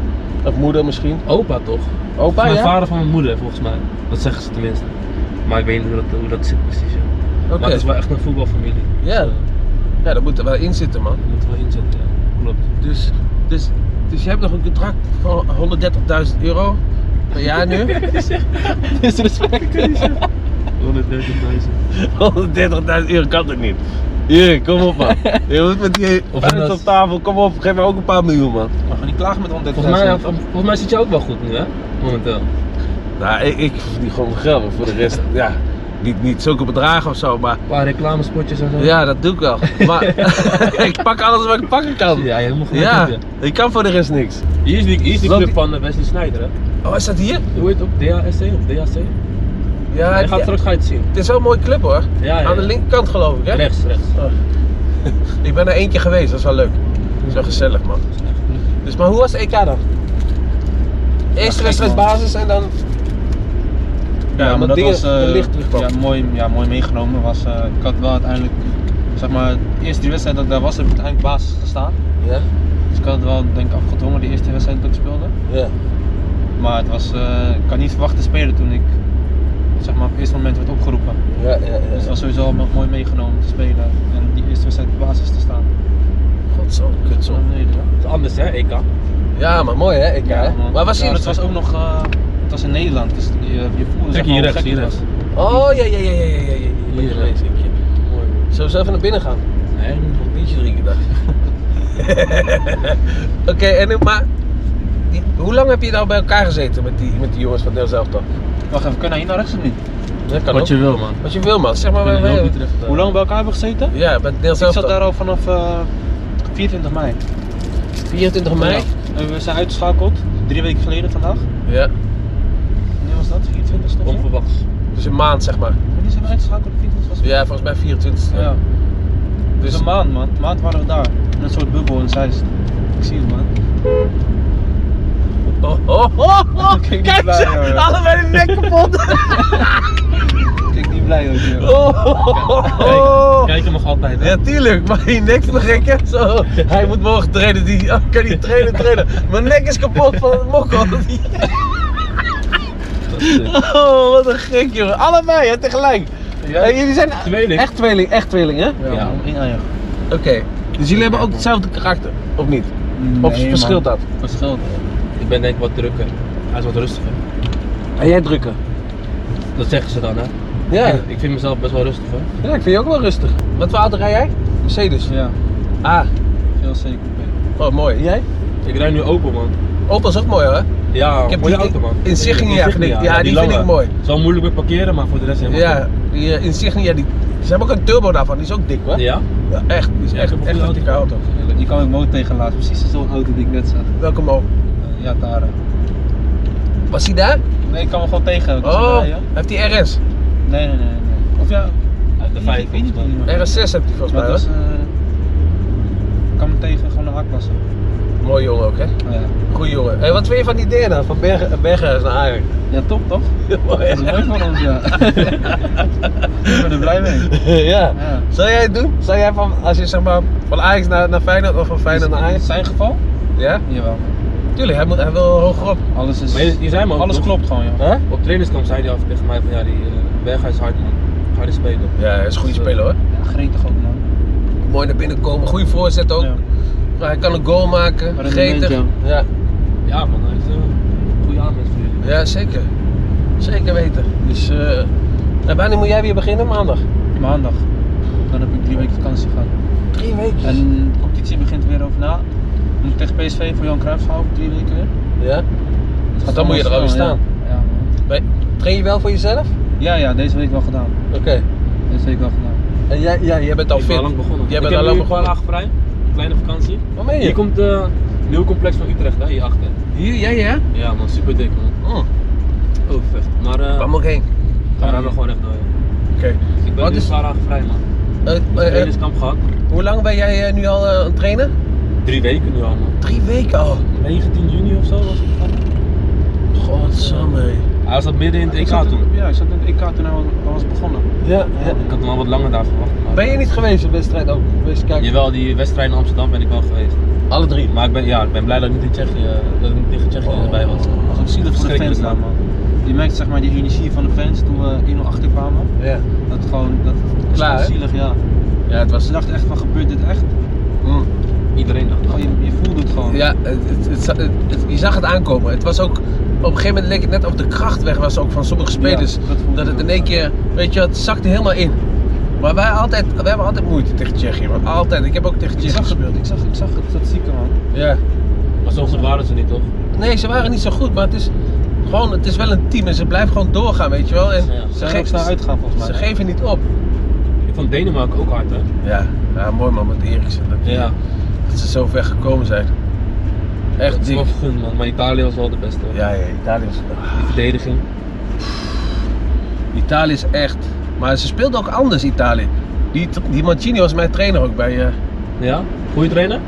Speaker 1: Of moeder misschien?
Speaker 2: Opa toch?
Speaker 1: Opa,
Speaker 2: mijn
Speaker 1: ja?
Speaker 2: vader van mijn moeder volgens mij. Dat zeggen ze tenminste. Maar ik weet niet hoe dat, hoe dat zit precies. Ja.
Speaker 1: Oké.
Speaker 2: Maar het is wel echt een voetbalfamilie.
Speaker 1: Ja.
Speaker 2: Dus, eh,
Speaker 1: Ja, dat moet er wel in zitten, man.
Speaker 2: daar moeten we wel in zitten, ja. Klopt.
Speaker 1: Dus, dus, dus je hebt nog een contract van 130.000 euro per jaar nu. 130.000
Speaker 3: Disrespect.
Speaker 2: 130.000.
Speaker 1: euro kan toch niet? Hier, kom op man. Je moet met die
Speaker 2: Of
Speaker 1: vuist
Speaker 2: dat-
Speaker 1: op tafel, kom op, geef mij ook een paar miljoen man.
Speaker 3: Mag je niet klagen met 130
Speaker 2: Volgens mij, volgens mij zit je ook wel goed nu, hè? Momenteel.
Speaker 1: Nou, ik, ik verdien gewoon geld, maar voor de rest, ja, niet, niet zulke bedragen of zo, maar
Speaker 2: Een paar reclamespotjes en zo.
Speaker 1: ja, dat doe ik wel. Maar ik pak alles wat ik pakken kan.
Speaker 2: Ja, helemaal goed.
Speaker 1: Ja,
Speaker 2: Ja.
Speaker 1: ik kan voor de rest niks.
Speaker 2: Hier is die, hier is die
Speaker 1: Wat-
Speaker 2: club van eh, Wesley Sneijder, hè?
Speaker 1: Oh, is dat hier?
Speaker 2: Hoe heet het ook? DHSC of DHC?
Speaker 1: Ja,
Speaker 2: je gaat
Speaker 1: ja.
Speaker 2: straks ga je het zien.
Speaker 1: het is wel een mooie club hoor.
Speaker 2: Ja, ja.
Speaker 1: Aan de linkerkant geloof ik, hè?
Speaker 2: Rechts, rechts.
Speaker 1: Ik ben er eentje geweest, dat is wel leuk. Dat
Speaker 2: Mm.
Speaker 1: is wel gezellig, man. Dus, maar hoe was het EK dan? Eerste
Speaker 3: gek,
Speaker 1: wedstrijd
Speaker 3: man.
Speaker 1: basis en dan...
Speaker 3: Ja,
Speaker 1: omdat
Speaker 3: maar dat
Speaker 1: dingen
Speaker 3: was
Speaker 1: te
Speaker 3: eh,
Speaker 1: licht terugkwam.
Speaker 3: ja, mooi, ja, mooi meegenomen. Was, eh, ik had wel uiteindelijk, zeg maar, de eerste die wedstrijd dat ik daar was, heb ik uiteindelijk basis gestaan.
Speaker 1: Ja?
Speaker 3: Dus ik had het wel, denk ik, afgedwongen, de eerste wedstrijd dat ik speelde.
Speaker 1: Ja.
Speaker 3: Maar het was, eh, ik had niet verwacht te spelen toen ik, zeg maar, op het eerste moment werd opgeroepen.
Speaker 1: Ja, ja,
Speaker 3: Dus het
Speaker 1: ja.
Speaker 3: was sowieso al mooi meegenomen te spelen en die eerste wedstrijd op basis te staan.
Speaker 1: God zo, kut zo.
Speaker 3: Naar beneden, ja.
Speaker 2: Het is anders, hè? E EK.
Speaker 1: Ja, maar mooi hè, EK. hè?
Speaker 3: man.
Speaker 1: maar was
Speaker 3: Ja,
Speaker 1: hier...
Speaker 3: Het was ook nog, eh, het was in Nederland, dus je, je voelde zeg
Speaker 2: Kijk
Speaker 3: maar,
Speaker 2: hier
Speaker 3: hoe
Speaker 2: rechts,
Speaker 3: gek
Speaker 2: hier
Speaker 3: het
Speaker 2: rechts.
Speaker 3: was.
Speaker 1: Oh, ja, ja, ja, ja, ja, ja. ja.
Speaker 2: Hier,
Speaker 1: Hier lees
Speaker 3: eh,
Speaker 2: hè?
Speaker 1: ik je.
Speaker 2: Mooi.
Speaker 1: Zullen we zelf even naar binnen gaan?
Speaker 2: Nee,
Speaker 1: Nog een biertje drinken, dacht ik. Oké, en nu- maar... die- hoe lang heb je nou bij elkaar gezeten met die, met die jongens van Deel zelf dan?
Speaker 3: Wacht even, kunnen we hier naar rechts of niet?
Speaker 1: Dat kan
Speaker 2: Wat
Speaker 1: ook.
Speaker 2: je wil, man.
Speaker 1: Wat je wil man, zeg maar...
Speaker 2: Ik
Speaker 1: wij-
Speaker 2: ben heel
Speaker 1: wij-
Speaker 2: Utrecht, eh,
Speaker 3: Hoe lang we bij elkaar hebben gezeten?
Speaker 1: Ja, met Deel
Speaker 3: Ik
Speaker 1: zelf
Speaker 3: zat daar al vanaf eh, 24 mei.
Speaker 1: 24 mei?
Speaker 3: En we zijn uitgeschakeld, drie weken geleden vandaag.
Speaker 1: Ja.
Speaker 3: Wanneer was dat? 24 of zo?
Speaker 2: Onverwachts.
Speaker 1: Dus een maand zeg maar.
Speaker 3: Wanneer zijn we uitgeschakeld? 24 was het?
Speaker 1: Ja, volgens mij 24.
Speaker 3: Ja. Dus
Speaker 1: Dus
Speaker 3: een maand man, een maand waren we daar. In een soort bubbel in Zeist. Ik zie het man.
Speaker 1: Oh, oh, oh, oh.
Speaker 3: Ik ben
Speaker 1: Kijk
Speaker 3: blij,
Speaker 1: ze,
Speaker 3: hoor.
Speaker 1: allebei de nek kapot.
Speaker 3: Kijk, niet blij ook joh.
Speaker 1: Oh, oh, oh, oh.
Speaker 2: Kijk, kijk hem nog altijd, hè?
Speaker 1: Ja, tuurlijk, maar je nek verrekken. Zo, hij moet morgen trainen. Die, oh, kan niet trainen, trainen. Mijn nek is kapot van het mokkel. Oh, wat een gek, jongen. Allebei, hè, tegelijk. Hey, jullie zijn
Speaker 2: Tweeling.
Speaker 1: echt tweeling, echt tweeling, hè?
Speaker 3: Ja,
Speaker 2: Ja.
Speaker 3: man. Ja, ja.
Speaker 1: Oké, dus jullie hebben ook hetzelfde karakter, of niet? of
Speaker 3: Nee,
Speaker 1: verschilt
Speaker 3: man.
Speaker 1: dat?
Speaker 3: Verschilt.
Speaker 2: Ik ben denk ik wat drukker. Hij is wat rustiger.
Speaker 1: En jij drukker?
Speaker 2: Dat zeggen ze dan, hè?
Speaker 1: Ja.
Speaker 2: Ik, ik vind mezelf best wel rustig, hoor.
Speaker 1: ja, ik vind je ook wel rustig. Wat voor auto rij jij? Mercedes.
Speaker 3: Dus Ja,
Speaker 1: Ah,
Speaker 3: veel zeker.
Speaker 1: oh mooi. En Jij?
Speaker 2: Ik rijd nu open, man.
Speaker 1: Opel is ook mooi hoor.
Speaker 2: Ja,
Speaker 1: Ik heb
Speaker 2: mooie
Speaker 1: die
Speaker 2: auto, man.
Speaker 1: Insignia
Speaker 2: Insignia,
Speaker 1: genikt. Ja, die vind
Speaker 2: lange.
Speaker 1: ik mooi.
Speaker 2: Het is wel moeilijk met parkeren, maar voor de rest helemaal
Speaker 1: Ja, die eh, Insignia, die, ze hebben ook een turbo daarvan, die is ook dik hoor.
Speaker 2: goed. Ja?
Speaker 1: Ja, echt, die is
Speaker 2: Ja, ik
Speaker 1: echt,
Speaker 2: heb ook
Speaker 1: echt
Speaker 2: een
Speaker 1: een dikke auto.
Speaker 3: Die kwam ik motor tegen laatst, precies zo'n auto die ik net zag.
Speaker 1: Welkom ook.
Speaker 3: Eh, ja, daar.
Speaker 1: Was hij daar?
Speaker 3: Nee, ik kwam hem gewoon tegen. Ik was
Speaker 1: Oh,
Speaker 3: erbij, hè.
Speaker 1: heeft hij RS?
Speaker 3: Nee, nee, nee, nee. Of ja,
Speaker 2: Uit de
Speaker 3: ik
Speaker 2: vijf,
Speaker 3: weet niet
Speaker 2: volgens mij.
Speaker 3: meer.
Speaker 1: RS6 heeft hij volgens mij
Speaker 3: Maar
Speaker 1: hoor.
Speaker 3: dat was, eh, ik kwam hem tegen, gewoon een A-klasse.
Speaker 1: Mooi jongen ook hè.
Speaker 3: Ja.
Speaker 1: Goeie jongen. Hé, wat vind je van die DNA? Van Bergen, Bergen naar Ajax.
Speaker 3: ja, top toch?
Speaker 1: mooi
Speaker 3: Dat is
Speaker 1: hè?
Speaker 3: mooi voor ons, ja. ik ben er blij mee.
Speaker 1: ja.
Speaker 3: Ja.
Speaker 1: Zou jij het doen? Zou jij van, als je zeg maar, van Ajax naar, naar Feyenoord of van Feyenoord naar
Speaker 3: In
Speaker 1: Ajax?
Speaker 3: zijn geval?
Speaker 1: Ja?
Speaker 3: Jawel.
Speaker 1: Tuurlijk, hij, moet, hij wil hoger op.
Speaker 3: Alles is...
Speaker 2: Maar je, je zei me ook
Speaker 3: alles
Speaker 2: nog,
Speaker 3: klopt gewoon, joh.
Speaker 1: Hè?
Speaker 2: Op trainingskamp zei hij af tegen mij van ja, die eh Berghuis is hard man. Harde speler.
Speaker 1: Ja, hij is een goede
Speaker 2: Dus, eh,
Speaker 1: speler hoor.
Speaker 3: Ja, gretig ook, man.
Speaker 1: Mooi naar binnen komen, goede voorzet ook.
Speaker 3: Ja.
Speaker 1: Hij kan een goal maken.
Speaker 2: Rendement,
Speaker 1: Gretig.
Speaker 2: ja.
Speaker 1: Ja.
Speaker 2: Ja man, hij is eh, een goede aanwinst voor jullie.
Speaker 1: ja, zeker. Zeker weten. Dus eh, nou, wanneer moet jij weer beginnen? Maandag?
Speaker 3: Maandag. Dan heb ik drie weken vakantie gehad.
Speaker 1: Drie weken.
Speaker 3: En de competitie begint er weer over na. Moet ik tegen PSV voor Jan Cruijff gaan over drie weken weer.
Speaker 1: Ja?
Speaker 3: Het
Speaker 1: Ah, Dan moet je er
Speaker 3: allemaal
Speaker 1: ook
Speaker 3: snel,
Speaker 1: weer
Speaker 3: Ja. Ja, man.
Speaker 1: Train je wel voor jezelf?
Speaker 3: ja, ja, deze week wel gedaan.
Speaker 1: Oké.
Speaker 3: Deze week wel gedaan.
Speaker 1: En jij, ja, jij bent al
Speaker 2: ik
Speaker 1: fit.
Speaker 2: ben al lang begonnen.
Speaker 1: Jij
Speaker 2: ik
Speaker 1: bent
Speaker 2: heb
Speaker 1: al
Speaker 2: nu
Speaker 1: lang
Speaker 2: een paar
Speaker 1: begonnen.
Speaker 2: dagen vrij, een kleine vakantie.
Speaker 1: Waar ben je?
Speaker 2: Hier komt eh, het nieuwe complex van Utrecht, hè, hierachter.
Speaker 1: Hier, jij ja?
Speaker 2: Ja man, super dik man.
Speaker 1: Mm.
Speaker 2: Oh, vecht. Maar eh,
Speaker 1: Waar moet ik heen?
Speaker 2: daar gaan we gewoon recht door. joh.
Speaker 1: Oké.
Speaker 2: Dus ik ben
Speaker 1: Wat
Speaker 2: nu
Speaker 1: is-
Speaker 2: een paar dagen vrij man.
Speaker 1: Eh, eh, eh,
Speaker 2: Trainingskamp gehad.
Speaker 1: hoe lang ben jij eh, nu al eh, aan het trainen?
Speaker 2: Drie weken nu al man.
Speaker 1: Drie weken al.
Speaker 2: 19 juni of zo was het.
Speaker 1: Godsamme.
Speaker 2: Hij zat midden in het EK
Speaker 3: Ik zat
Speaker 2: toen.
Speaker 3: Ja, ik zat in het EK toen hij was- al was begonnen.
Speaker 1: Ja, ja.
Speaker 2: Ik had hem al wat langer daar verwacht. Maar...
Speaker 1: Ben je niet geweest op wedstrijd ook? Geweest kijken?
Speaker 2: Jawel, die wedstrijd in Amsterdam ben ik wel geweest.
Speaker 1: Alle drie.
Speaker 2: Maar ik ben, ja, ik ben blij dat ik niet in Tsjechië, dat ik niet tegen Tsjechië
Speaker 1: Oh.
Speaker 2: erbij was.
Speaker 3: was ook zielig voor de
Speaker 2: Verschrikkelijk,
Speaker 3: fans daar, man. Je merkt zeg maar die energie van de fans toen we 1-0 achter kwamen.
Speaker 1: Ja.
Speaker 3: Dat het gewoon, dat het is
Speaker 1: Klaar,
Speaker 3: gewoon
Speaker 1: hè?
Speaker 3: zielig, ja.
Speaker 1: Ja, het
Speaker 3: Ze
Speaker 1: was...
Speaker 3: dachten echt van gebeurt dit echt?
Speaker 1: Mm.
Speaker 2: Iedereen dacht oh, dat.
Speaker 3: Gewoon, je, je voelde het gewoon.
Speaker 1: Ja, het, het, het za- het- het- je zag het aankomen. Het was ook... Op een gegeven moment leek het net of de kracht weg was ook van sommige spelers.
Speaker 3: Ja, dat voelde
Speaker 1: dat het
Speaker 3: ik
Speaker 1: in
Speaker 3: ook,
Speaker 1: één
Speaker 3: ja.
Speaker 1: keer... Weet je, het zakte helemaal in. Maar wij, altijd, wij hebben altijd moeite tegen Tsjechië. Want altijd. Ik heb ook tegen
Speaker 3: Je
Speaker 1: Tsjechië
Speaker 3: zag
Speaker 1: gespeeld.
Speaker 3: het, ik zag, ik zag het statistieken, man.
Speaker 1: Ja.
Speaker 2: Maar zo goed waren ze niet toch?
Speaker 1: Nee, ze waren niet zo goed. Maar het is gewoon... Het is wel een team. En ze blijven gewoon doorgaan, weet je wel. En
Speaker 2: Ja, ja.
Speaker 1: ze,
Speaker 3: Ze gaan ook snel
Speaker 1: geven,
Speaker 3: uitgaan volgens mij.
Speaker 1: ze geven niet op.
Speaker 2: Ik vond Denemarken ook hard hè?
Speaker 1: Ja, ja mooi man met Eriksen. Dat, die- dat ze zo ver gekomen zijn. Echt
Speaker 2: Het is
Speaker 1: diep.
Speaker 2: wel vergund man, maar Italië was wel de beste.
Speaker 1: Ja, ja, Italië is...
Speaker 2: Die verdediging.
Speaker 1: Italië is echt... Maar ze speelden ook anders, Italië. Die, die Mancini was mijn trainer ook bij... eh,
Speaker 2: Ja? Goeie trainer?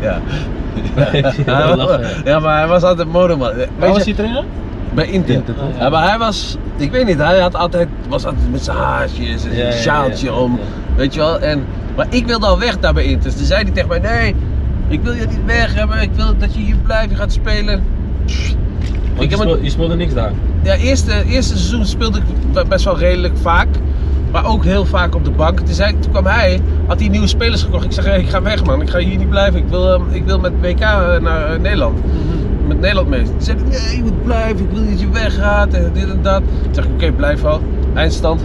Speaker 1: ja.
Speaker 2: ik zie wel lachen.
Speaker 1: ja, maar hij was altijd modeman. Weet
Speaker 3: Waar
Speaker 1: je,
Speaker 3: was die trainer?
Speaker 1: bij Inter.
Speaker 2: Inter, toch?
Speaker 1: ja, maar hij was... Ik weet niet, hij had altijd, was altijd met zijn haartjes en
Speaker 2: Ja, ja,
Speaker 1: zijn
Speaker 2: ja,
Speaker 1: sjaaltje
Speaker 2: ja.
Speaker 1: om.
Speaker 2: Ja.
Speaker 1: Weet je wel? En, maar ik wilde al weg daar bij Inter. Dus toen zei hij tegen mij, nee, ik wil je niet weg hebben. Ik wil dat je hier blijft, je gaat spelen.
Speaker 2: Want
Speaker 1: Ik
Speaker 2: je,
Speaker 1: heb
Speaker 2: speel-
Speaker 1: een,
Speaker 2: je speelde niks daar.
Speaker 1: ja, eerste, eerste seizoen speelde ik be- best wel redelijk vaak. Maar ook heel vaak op de bank. Toen, zei, toen kwam hij, had hij nieuwe spelers gekocht. Ik zeg, hey, ik ga weg man, ik ga hier niet blijven. Ik wil, ehm, ik wil met WK naar eh, Nederland.
Speaker 3: Mhm.
Speaker 1: Met Nederland mee. Toen zei hij, nee, je moet blijven. Ik wil niet dat je weggaat en dit en dat. Toen zeg ik, oké, blijf al. Eindstand.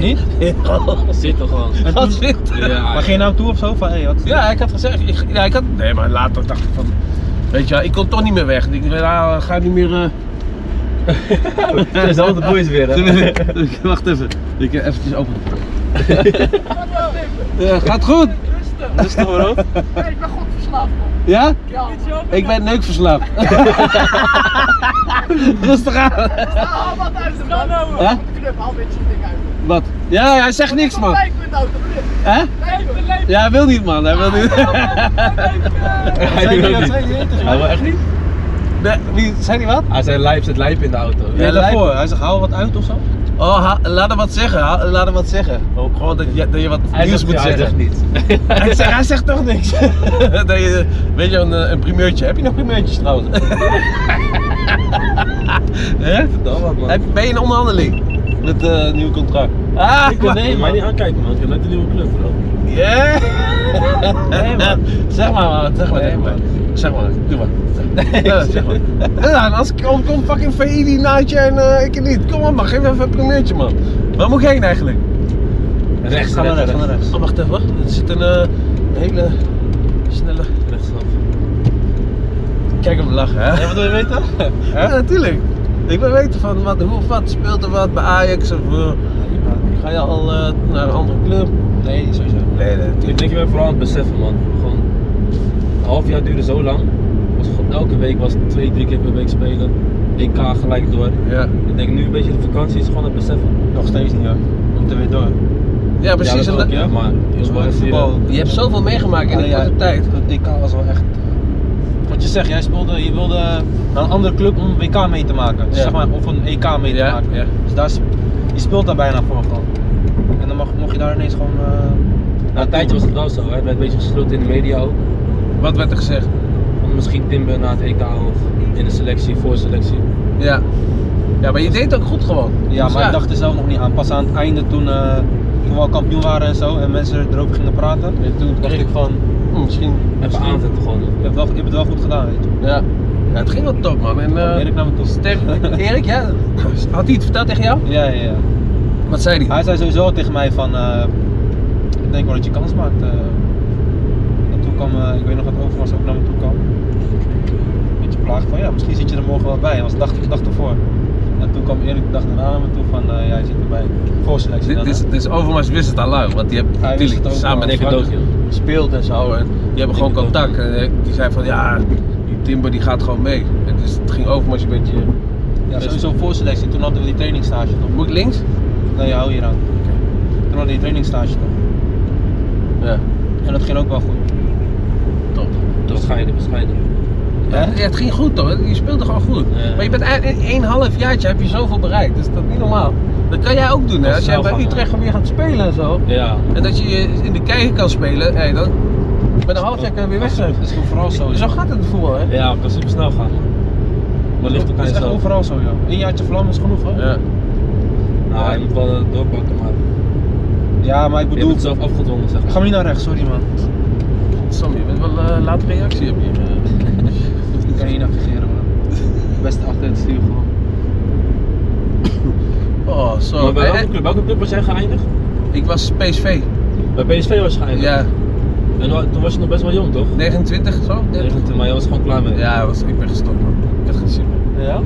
Speaker 3: Niet?
Speaker 2: Zit toch gewoon.
Speaker 3: En
Speaker 1: Wat
Speaker 3: toen,
Speaker 1: zit?
Speaker 2: Ja,
Speaker 3: maar ging je nou toe of zo? Van, hey, wat?
Speaker 1: Ja, ik had gezegd, ik, ja, ik had, nee, maar later dacht ik van, weet je wel, ik kon toch niet meer weg. Ik dacht, nou, ga ik niet meer... eh,
Speaker 2: het is altijd boys weer hè?
Speaker 1: Wacht even. Ik heb eventjes open. Ja, gaat goed.
Speaker 2: Rustig bro.
Speaker 4: Nee, ik ben goed verslaafd, man.
Speaker 1: Ja?
Speaker 4: Ja, man.
Speaker 1: Ik ben neukverslaafd. Rustig aan.
Speaker 4: Ah, wat uit de man.
Speaker 1: Hè?
Speaker 4: Huh? Knip, haal dit soort dingen uit.
Speaker 1: Wat? Ja, hij zegt niks man.
Speaker 4: Ik ben uit de knip.
Speaker 1: Hè?
Speaker 4: Leef, leef.
Speaker 1: Ja, hij wil niet man. Hij wil niet.
Speaker 2: Hij
Speaker 3: Zei
Speaker 2: doet
Speaker 3: die- dat
Speaker 2: ook niet.
Speaker 3: zei die tegen
Speaker 2: Hij wil echt niet?
Speaker 1: Nee, wie, zei hij wat?
Speaker 2: Hij zei lijp zit lijp in de auto.
Speaker 1: Ja,
Speaker 3: Ja,
Speaker 1: daarvoor.
Speaker 3: daarvoor. Hij zegt, haal wat uit of zo?
Speaker 1: Oh, ha- laat hem wat zeggen. ha- laat hem wat zeggen.
Speaker 2: Oh,
Speaker 1: Gewoon dat je, dat je wat
Speaker 2: Hij
Speaker 1: nieuws
Speaker 2: zegt,
Speaker 1: moet
Speaker 2: ja, hij
Speaker 1: zeggen.
Speaker 2: zegt niets.
Speaker 1: Hij zegt, hij zegt toch niks. dat je, weet je, een, eh, een primeurtje. Heb je nog primeurtjes trouwens? Hè?
Speaker 2: Dat wat man.
Speaker 1: Heb- Ben je in onderhandeling met eh, het nieuwe contract? Ah,
Speaker 2: Ik wil nee, mij niet aankijken man, ik heb net een nieuwe club bro.
Speaker 1: Ja.
Speaker 2: Nee, man.
Speaker 1: Zeg maar, man. Zeg maar,
Speaker 2: Nee,
Speaker 1: zeg maar.
Speaker 2: man.
Speaker 1: Zeg maar, doe maar. Ja, zeg maar. Ja, en als ik kom, kom fucking VI die naadje en eh, ik niet. Kom op, man. Geef me even een primeurtje, man. Waar moet ik heen eigenlijk?
Speaker 2: Rechts,
Speaker 3: Ga naar rechts, ga naar rechts.
Speaker 1: Oh, wacht even, wacht. Er zit een eh, hele snelle...
Speaker 2: Rechtsaf.
Speaker 1: Kijk hem lachen, hè?
Speaker 3: Ja, wat wil je weten?
Speaker 1: Ja, natuurlijk. Ik wil weten van wat, hoe of wat speelt er wat bij Ajax of eh, ga je al eh, naar een andere club?
Speaker 3: Nee, sowieso.
Speaker 1: Nee, nee.
Speaker 2: Ik denk, je bent vooral aan het beseffen, man. Gewoon, een half jaar duurde zo lang. Was gewoon elke week was het twee, drie keer per week spelen. EK gelijk door.
Speaker 1: Ja.
Speaker 2: Ik denk nu een beetje de vakantie is gewoon het beseffen.
Speaker 3: Nog steeds niet hoor. Om te weer door.
Speaker 1: ja, precies.
Speaker 2: Ja,
Speaker 1: En
Speaker 2: dat ook,
Speaker 1: dat-
Speaker 2: ja, maar is wel even
Speaker 3: Voetbal.
Speaker 1: Je hebt zoveel meegemaakt in een
Speaker 3: Ah, Ja, ja,
Speaker 1: korte tijd.
Speaker 3: Dat EK was wel echt. eh, Wat je zegt, jij speelde, je wilde naar een andere club om WK mee te maken. Dus
Speaker 1: Ja.
Speaker 3: zeg maar, of een EK mee te
Speaker 1: Ja,
Speaker 3: maken.
Speaker 1: ja.
Speaker 3: Dus daar, sp- je speelt daar bijna voor gewoon. En dan mag, mocht je daar ineens gewoon. eh,
Speaker 2: Na een tijdje was het wel zo, hè. Het werd een beetje gesloten in de media ook.
Speaker 1: Wat werd er gezegd?
Speaker 2: Om misschien Timber na het EK of in de selectie, voorselectie.
Speaker 1: Ja. Ja, maar je deed het ook goed gewoon.
Speaker 3: ja,
Speaker 1: Dus
Speaker 3: maar ik dacht er zelf nog niet aan. Pas aan het einde toen, eh, toen we al kampioen waren en zo en mensen erover gingen praten.
Speaker 1: En toen
Speaker 3: Dacht
Speaker 1: kreeg
Speaker 3: ik van,
Speaker 1: Hm, misschien.
Speaker 2: Even aanzetten gewoon.
Speaker 3: Je hebt, wel, je hebt het wel goed gedaan, weet je.
Speaker 1: Ja. ja. Het ging wel top, man. En, eh,
Speaker 3: Erik nam het op.
Speaker 1: Sterk. Erik, ja? Had hij het verteld tegen jou?
Speaker 3: Ja, ja, ja.
Speaker 1: Wat zei hij?
Speaker 3: Hij zei sowieso al tegen mij van, eh, ik denk wel dat je kans maakt. eh. en toen kwam, eh, ik weet nog dat Overmars ook naar me toe kwam. Een beetje plaag van, ja, misschien zit je er morgen wel bij. Dat was de dag, de dag ervoor. En toen kwam Erik de dag daarna naar me toe van, eh, ja, je zit erbij. Voorselectie
Speaker 1: Dit
Speaker 3: dan,
Speaker 1: is,
Speaker 3: hè.
Speaker 1: dit is Overmars wist het al lang, want die hebben
Speaker 3: Hij wist
Speaker 1: natuurlijk
Speaker 3: het ook
Speaker 1: samen
Speaker 3: al.
Speaker 1: met
Speaker 2: Dikke
Speaker 1: Frank
Speaker 2: doos, joh.
Speaker 1: gespeeld en zo. En die hebben gewoon
Speaker 2: Dikke doos.
Speaker 1: contact. En eh, die zei van ja, die Timber die gaat gewoon mee. En dus het ging Overmars een beetje.
Speaker 3: Ja, sowieso voorselectie. Toen hadden we die trainingstage toch?
Speaker 1: Moet ik links?
Speaker 3: Nee, hou hier aan. Toen hadden we die trainingstage toch?
Speaker 1: Ja,
Speaker 3: En dat ging ook wel goed.
Speaker 1: top.
Speaker 2: Bescheiden, bescheiden.
Speaker 1: Ja, het ging goed toch? Je speelde gewoon goed.
Speaker 2: Ja.
Speaker 1: Maar je bent eigenlijk in één half jaartje heb je zoveel bereikt. Dus dat is niet normaal. Dat kan jij ook doen.
Speaker 2: Dat
Speaker 1: Hè?
Speaker 2: is
Speaker 1: Als jij
Speaker 2: snel
Speaker 1: bij
Speaker 2: gaan,
Speaker 1: Utrecht gewoon weer gaat spelen en zo.
Speaker 2: Ja.
Speaker 1: En dat je je in de kijker kan spelen. Hey, dan, met een half jaar kan je weer weg zijn.
Speaker 3: Dat is gewoon vooral zo.
Speaker 1: Zo gaat het in het voetbal, hè?
Speaker 2: Ja, dat is super snel gaan. Maar ligt ook aan
Speaker 3: Dat is echt
Speaker 2: jezelf.
Speaker 3: overal zo, joh. Een jaartje vlam is genoeg, hoor.
Speaker 1: Ja.
Speaker 2: Nou, je moet wel eh, doorpakken, maar
Speaker 3: Ja, maar ik
Speaker 2: je hebt
Speaker 3: bedoel...
Speaker 2: het zelf afgedwongen, zeg maar.
Speaker 3: Ga me niet naar rechts, sorry man.
Speaker 1: Sam, je bent wel eh late reactie eh. heb je.
Speaker 3: Ik kan hier navigeren man. Beste achter het stuur gewoon.
Speaker 1: oh,
Speaker 2: Maar
Speaker 1: zo. Hey,
Speaker 2: bij welke
Speaker 1: hey,
Speaker 2: club, welke club was jij geëindigd?
Speaker 1: ik was PSV.
Speaker 2: Bij PSV was je geëindigd?
Speaker 1: Ja,
Speaker 2: En wa- toen was je nog best wel jong, toch?
Speaker 1: 29 zo? 30.
Speaker 2: 19, maar jij was gewoon klaar mee.
Speaker 1: Ja, was, ik ben gestopt, man. Ik had geen zin meer.
Speaker 3: Ja?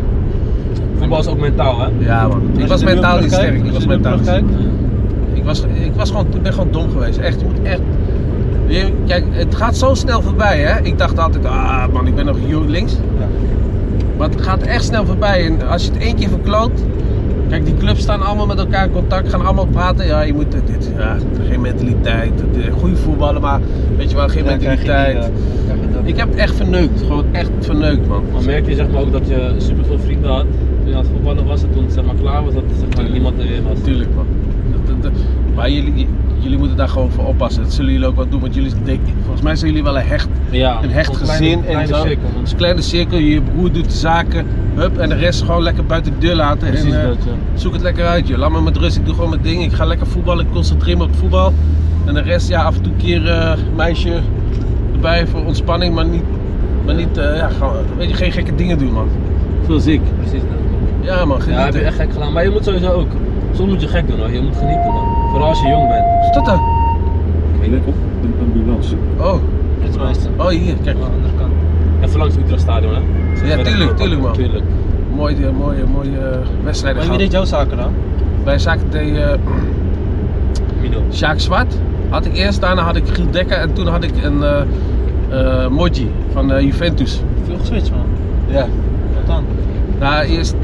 Speaker 2: Voetbal is ook mentaal, hè?
Speaker 1: Ja, man. Ik was mentaal niet sterk. Ik was mentaal niet sterk. Ik was, ik was gewoon, ik ben gewoon dom geweest. Echt, je moet echt. Je- Kijk, het gaat zo snel voorbij, hè? Ik dacht altijd, ah man, ik ben nog jong- links.
Speaker 3: Ja.
Speaker 1: Maar het gaat echt snel voorbij. En als je het één keer verkloot. Kijk, die clubs staan allemaal met elkaar in contact, gaan allemaal praten. Ja, je moet dit, dit ja, geen mentaliteit. dit- Goede voetballen, maar weet je wel, geen mentaliteit. ik heb het echt verneukt, gewoon echt verneukt, man.
Speaker 2: Maar merk je zeg maar ook dat je super veel vrienden had toen je aan het voetballen was en toen het zeg maar klaar was dat er zeg maar niemand er weer was.
Speaker 1: Natuurlijk, man. Dat- dat- dat- Maar jullie, jullie moeten daar gewoon voor oppassen. Dat zullen jullie ook wel doen, want jullie, denken- volgens mij zijn jullie wel een hecht
Speaker 2: Ja,
Speaker 1: een hecht
Speaker 2: kleine-
Speaker 1: gezin en
Speaker 2: kleine
Speaker 1: zo.
Speaker 2: cirkel, man.
Speaker 1: Dus een kleine cirkel, je broer doet de zaken, hup, en de rest gewoon lekker buiten de deur laten.
Speaker 2: Precies
Speaker 1: en, eh,
Speaker 2: dat, ja.
Speaker 1: Zoek het lekker uit, joh. Laat me met rust, ik doe gewoon mijn ding. Ik ga lekker voetballen, ik concentreer me op voetbal. En de rest, ja, af en toe een keer eh, meisje erbij voor ontspanning, maar niet, maar niet eh, ja, gewoon, weet je, geen gekke dingen doen, man.
Speaker 2: Zoals ik. Precies dat.
Speaker 1: Ja, man,
Speaker 2: Ja, heb
Speaker 1: genieten.
Speaker 2: je echt gek gedaan. Maar je moet sowieso ook, soms moet je gek doen hoor, je moet genieten man. Vooral als je jong bent.
Speaker 1: Wat is dat dan?
Speaker 5: Let op, een ambulance.
Speaker 1: Oh,
Speaker 3: Dit is meester.
Speaker 1: oh, hier, kijk.
Speaker 3: Aan de andere kant.
Speaker 2: Even langs het Utrecht Stadion hè. Zeg maar,
Speaker 1: tuurlijk,
Speaker 2: eh,
Speaker 1: tuurlijk, man.
Speaker 2: Tuurlijk.
Speaker 1: Mooie, mooie, mooie eh, wedstrijden
Speaker 3: Maar wie deed
Speaker 1: gehad.
Speaker 3: jouw zaken dan?
Speaker 1: Bij zaken eh, tegen
Speaker 2: Mino.
Speaker 1: Sjaak Zwart had ik eerst, daarna had ik Giel Dekker en toen had ik een eh eh, Moji van eh, Juventus.
Speaker 3: Veel geswitcht man.
Speaker 1: Ja.
Speaker 3: Wat dan?
Speaker 1: Nou, eerst